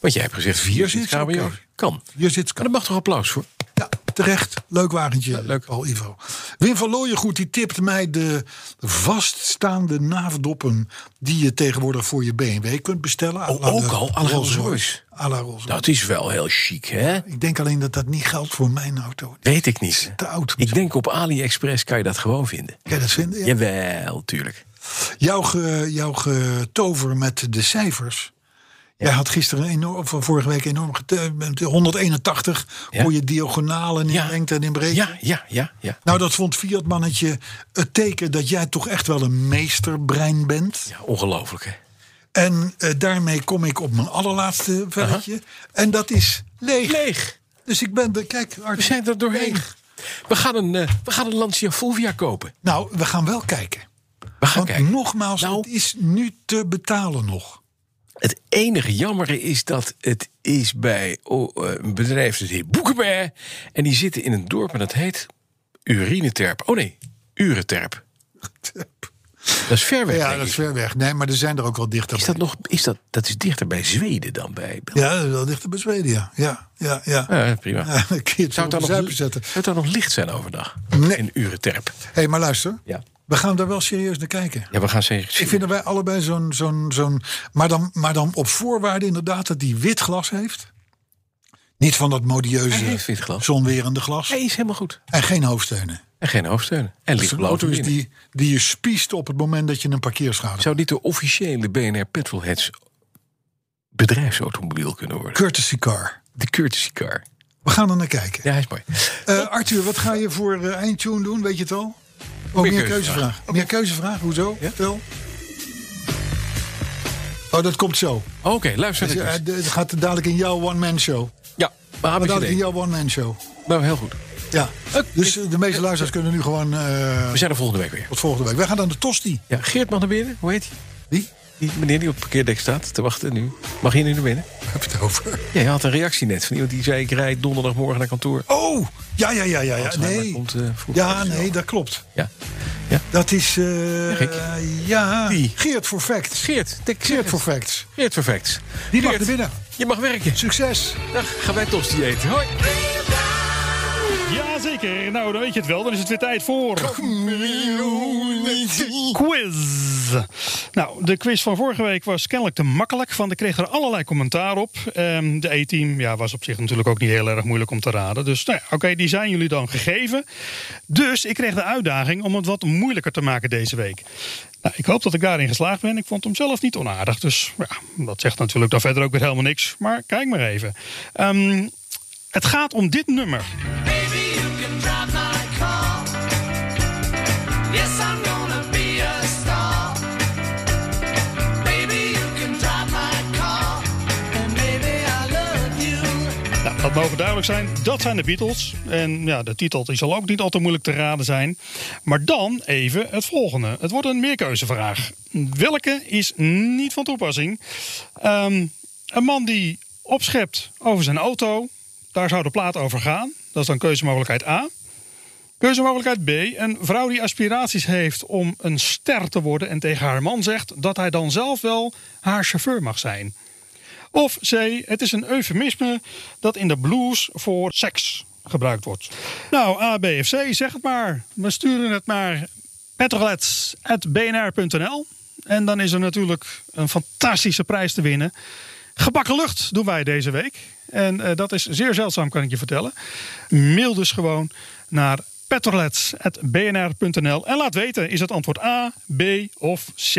Speaker 6: want jij hebt gezegd vier zit
Speaker 2: zit,
Speaker 6: KBO.
Speaker 2: oké.
Speaker 6: Kan.
Speaker 2: Vierzits
Speaker 6: Maar daar
Speaker 2: kan.
Speaker 6: mag toch applaus voor?
Speaker 2: Ja, terecht. Leuk wagentje,
Speaker 6: leuk.
Speaker 2: Paul Ivo. Wim van Looijengoed die tipt mij de vaststaande naafdoppen... die je tegenwoordig voor je BMW kunt bestellen. à la
Speaker 6: Oh, ook
Speaker 2: de
Speaker 6: al? À la
Speaker 2: Rolls-Royce.
Speaker 6: Rolls-Royce.
Speaker 2: À la Rolls-Royce.
Speaker 6: Dat is wel heel chic, hè?
Speaker 2: Ik denk alleen dat dat niet geldt voor mijn auto.
Speaker 6: Weet ik niet.
Speaker 2: Te oud.
Speaker 6: Ik denk op AliExpress kan je dat gewoon vinden.
Speaker 2: Kan je dat vinden? Ja.
Speaker 6: Jawel, tuurlijk.
Speaker 2: Jouw, ge, jouw getover met de cijfers. Jij had gisteren enorm, of vorige week enorm gete- met 181
Speaker 6: Ja.
Speaker 2: kon je diagonalen in
Speaker 6: Ja.
Speaker 2: lengte en in breedte.
Speaker 6: Ja, ja, ja, ja.
Speaker 2: Nou, dat vond Fiat mannetje het teken dat jij toch echt wel een meesterbrein bent.
Speaker 6: ja ongelooflijk, hè?
Speaker 2: En eh, daarmee kom ik op mijn allerlaatste velletje. En dat is leeg.
Speaker 6: Leeg.
Speaker 2: Dus ik ben er, kijk, Art,
Speaker 6: We zijn er doorheen.
Speaker 2: leeg.
Speaker 6: We gaan een, eh, we gaan een Lancia Fulvia kopen.
Speaker 2: Nou, we gaan wel kijken.
Speaker 6: We gaan
Speaker 2: Want
Speaker 6: kijken.
Speaker 2: nogmaals,
Speaker 6: Nou.
Speaker 2: het is nu te betalen nog.
Speaker 6: Het enige jammere is dat het is bij oh, eh, een bedrijf dat heet Boekenberg. En die zitten in een dorp en dat heet Urineterp. Oh nee, Ureterp. Dat is ver weg.
Speaker 2: Ja,
Speaker 6: denk
Speaker 2: dat is
Speaker 6: ik.
Speaker 2: ver weg. Nee, maar er zijn er ook wel dichter.
Speaker 6: Is dat nog? Is dat, dat is dichter bij Zweden dan bij. Bel-
Speaker 2: Ja, dat is wel dichter bij Zweden, ja. Ja, ja, ja.
Speaker 6: Ja, prima.
Speaker 2: Ja, dan kun je het zo
Speaker 6: Eh, zou,
Speaker 2: op de
Speaker 6: het dan nog,
Speaker 2: zuipen zetten.
Speaker 6: zou het dan nog licht zijn overdag?
Speaker 2: Nee.
Speaker 6: In Ureterp.
Speaker 2: Hé, hey, maar luister.
Speaker 6: Ja.
Speaker 2: We gaan daar wel serieus naar kijken.
Speaker 6: Ja, we gaan zeggen.
Speaker 2: Ik vind dat wij allebei zo'n. zo'n zo'n maar, dan, maar dan op voorwaarde inderdaad dat die wit glas heeft. Niet van dat
Speaker 6: Hij heeft
Speaker 2: modieuze
Speaker 6: wit glas.
Speaker 2: zonwerende glas.
Speaker 6: Hij is helemaal goed.
Speaker 2: En geen hoofdsteunen.
Speaker 6: En geen hoofdsteunen. En
Speaker 2: Dus
Speaker 6: licht
Speaker 2: een
Speaker 6: blauw.
Speaker 2: auto is die, die je spiest op het moment dat je een parkeerschade hebt.
Speaker 6: Zou dit de officiële BNR Petrolheads bedrijfsautomobiel kunnen worden?
Speaker 2: Courtesy car.
Speaker 6: De courtesy car.
Speaker 2: We gaan er naar kijken.
Speaker 6: Ja, hij is mooi.
Speaker 2: Eh, Arthur, wat ga je voor eh, eindtune doen? Weet je het al? Oh, meer, keuzevraag. Meer keuzevraag, hoezo? Vertel. Oh, dat komt zo.
Speaker 6: Oké, luister
Speaker 2: Dus,
Speaker 6: naar de
Speaker 2: eh,
Speaker 6: quiz.
Speaker 2: de- Het gaat dadelijk in jouw one-man show.
Speaker 6: Ja, maar
Speaker 2: Maar
Speaker 6: ABCD.
Speaker 2: dadelijk in jouw one-man show.
Speaker 6: Nou, heel goed.
Speaker 2: Ja.
Speaker 6: Oké.
Speaker 2: Dus eh, de meeste luisteraars kunnen nu gewoon eh,
Speaker 6: We zijn er volgende week weer.
Speaker 2: tot volgende week. Wij gaan aan de tosti.
Speaker 6: Ja, Geert mag naar binnen. Hoe heet hij?
Speaker 2: Wie?
Speaker 6: Die meneer die op het parkeerdek staat te wachten nu. Mag je nu naar binnen?
Speaker 2: Waar heb je het over?
Speaker 6: Ja, je had een reactie net van iemand die zei... ik rijd donderdagmorgen naar kantoor.
Speaker 2: Oh, ja, ja, ja, ja. ja.
Speaker 6: Alzheimer
Speaker 2: Nee.
Speaker 6: komt, eh, vroeg.
Speaker 2: Ja, nee, dat klopt.
Speaker 6: Ja.
Speaker 2: Dat is,
Speaker 6: Rick.
Speaker 2: eh ja,
Speaker 6: Die.
Speaker 2: Geert voor Facts.
Speaker 6: Geert, de
Speaker 2: Geert
Speaker 6: Geert,
Speaker 2: voor Facts.
Speaker 6: Geert Perfect.
Speaker 2: Die mag
Speaker 6: Geert,
Speaker 2: er binnen.
Speaker 6: Je mag werken.
Speaker 2: Succes.
Speaker 6: Dag, gaan wij tosti eten. Hoi.
Speaker 7: Jazeker, nou dan weet je het wel, dan is het weer tijd voor. Quiz. Nou, de quiz van vorige week was kennelijk te makkelijk, want ik kreeg er allerlei commentaar op. Ehm, de E-team ja, was op zich natuurlijk ook niet heel erg moeilijk om te raden. Dus nou ja, oké, die zijn jullie dan gegeven. Dus ik kreeg de uitdaging om het wat moeilijker te maken deze week. Nou, ik hoop dat ik daarin geslaagd ben. Ik vond hem zelf niet onaardig. Dus ja, dat zegt natuurlijk dan verder ook weer helemaal niks. Maar kijk maar even. Ehm, het gaat om dit nummer.
Speaker 8: Baby, you can drive my car. Yes, I'm gonna be a star. Baby, you can drive my car. And baby, I love you.
Speaker 7: Nou, Dat mogen duidelijk zijn. Dat zijn de Beatles. En ja, de titel die zal ook niet al te moeilijk te raden zijn. Maar dan even het volgende. Het wordt een meerkeuzevraag. Welke is niet van toepassing? Ehm, een man die opschept over zijn auto. Daar zou de plaat over gaan. Dat is dan keuzemogelijkheid A. Keuzemogelijkheid B. Een vrouw die aspiraties heeft om een ster te worden en tegen haar man zegt dat hij dan zelf wel haar chauffeur mag zijn. Of C. Het is een eufemisme dat in de blues voor seks gebruikt wordt. Nou, A, B of C, zeg het maar. We sturen het maar petrolets.bnr.nl. En dan is er natuurlijk een fantastische prijs te winnen. Gebakken lucht doen wij deze week. En eh, dat is zeer zeldzaam, kan ik je vertellen. Mail dus gewoon naar petrolets.bnr.nl. En laat weten, is het antwoord A, B of C?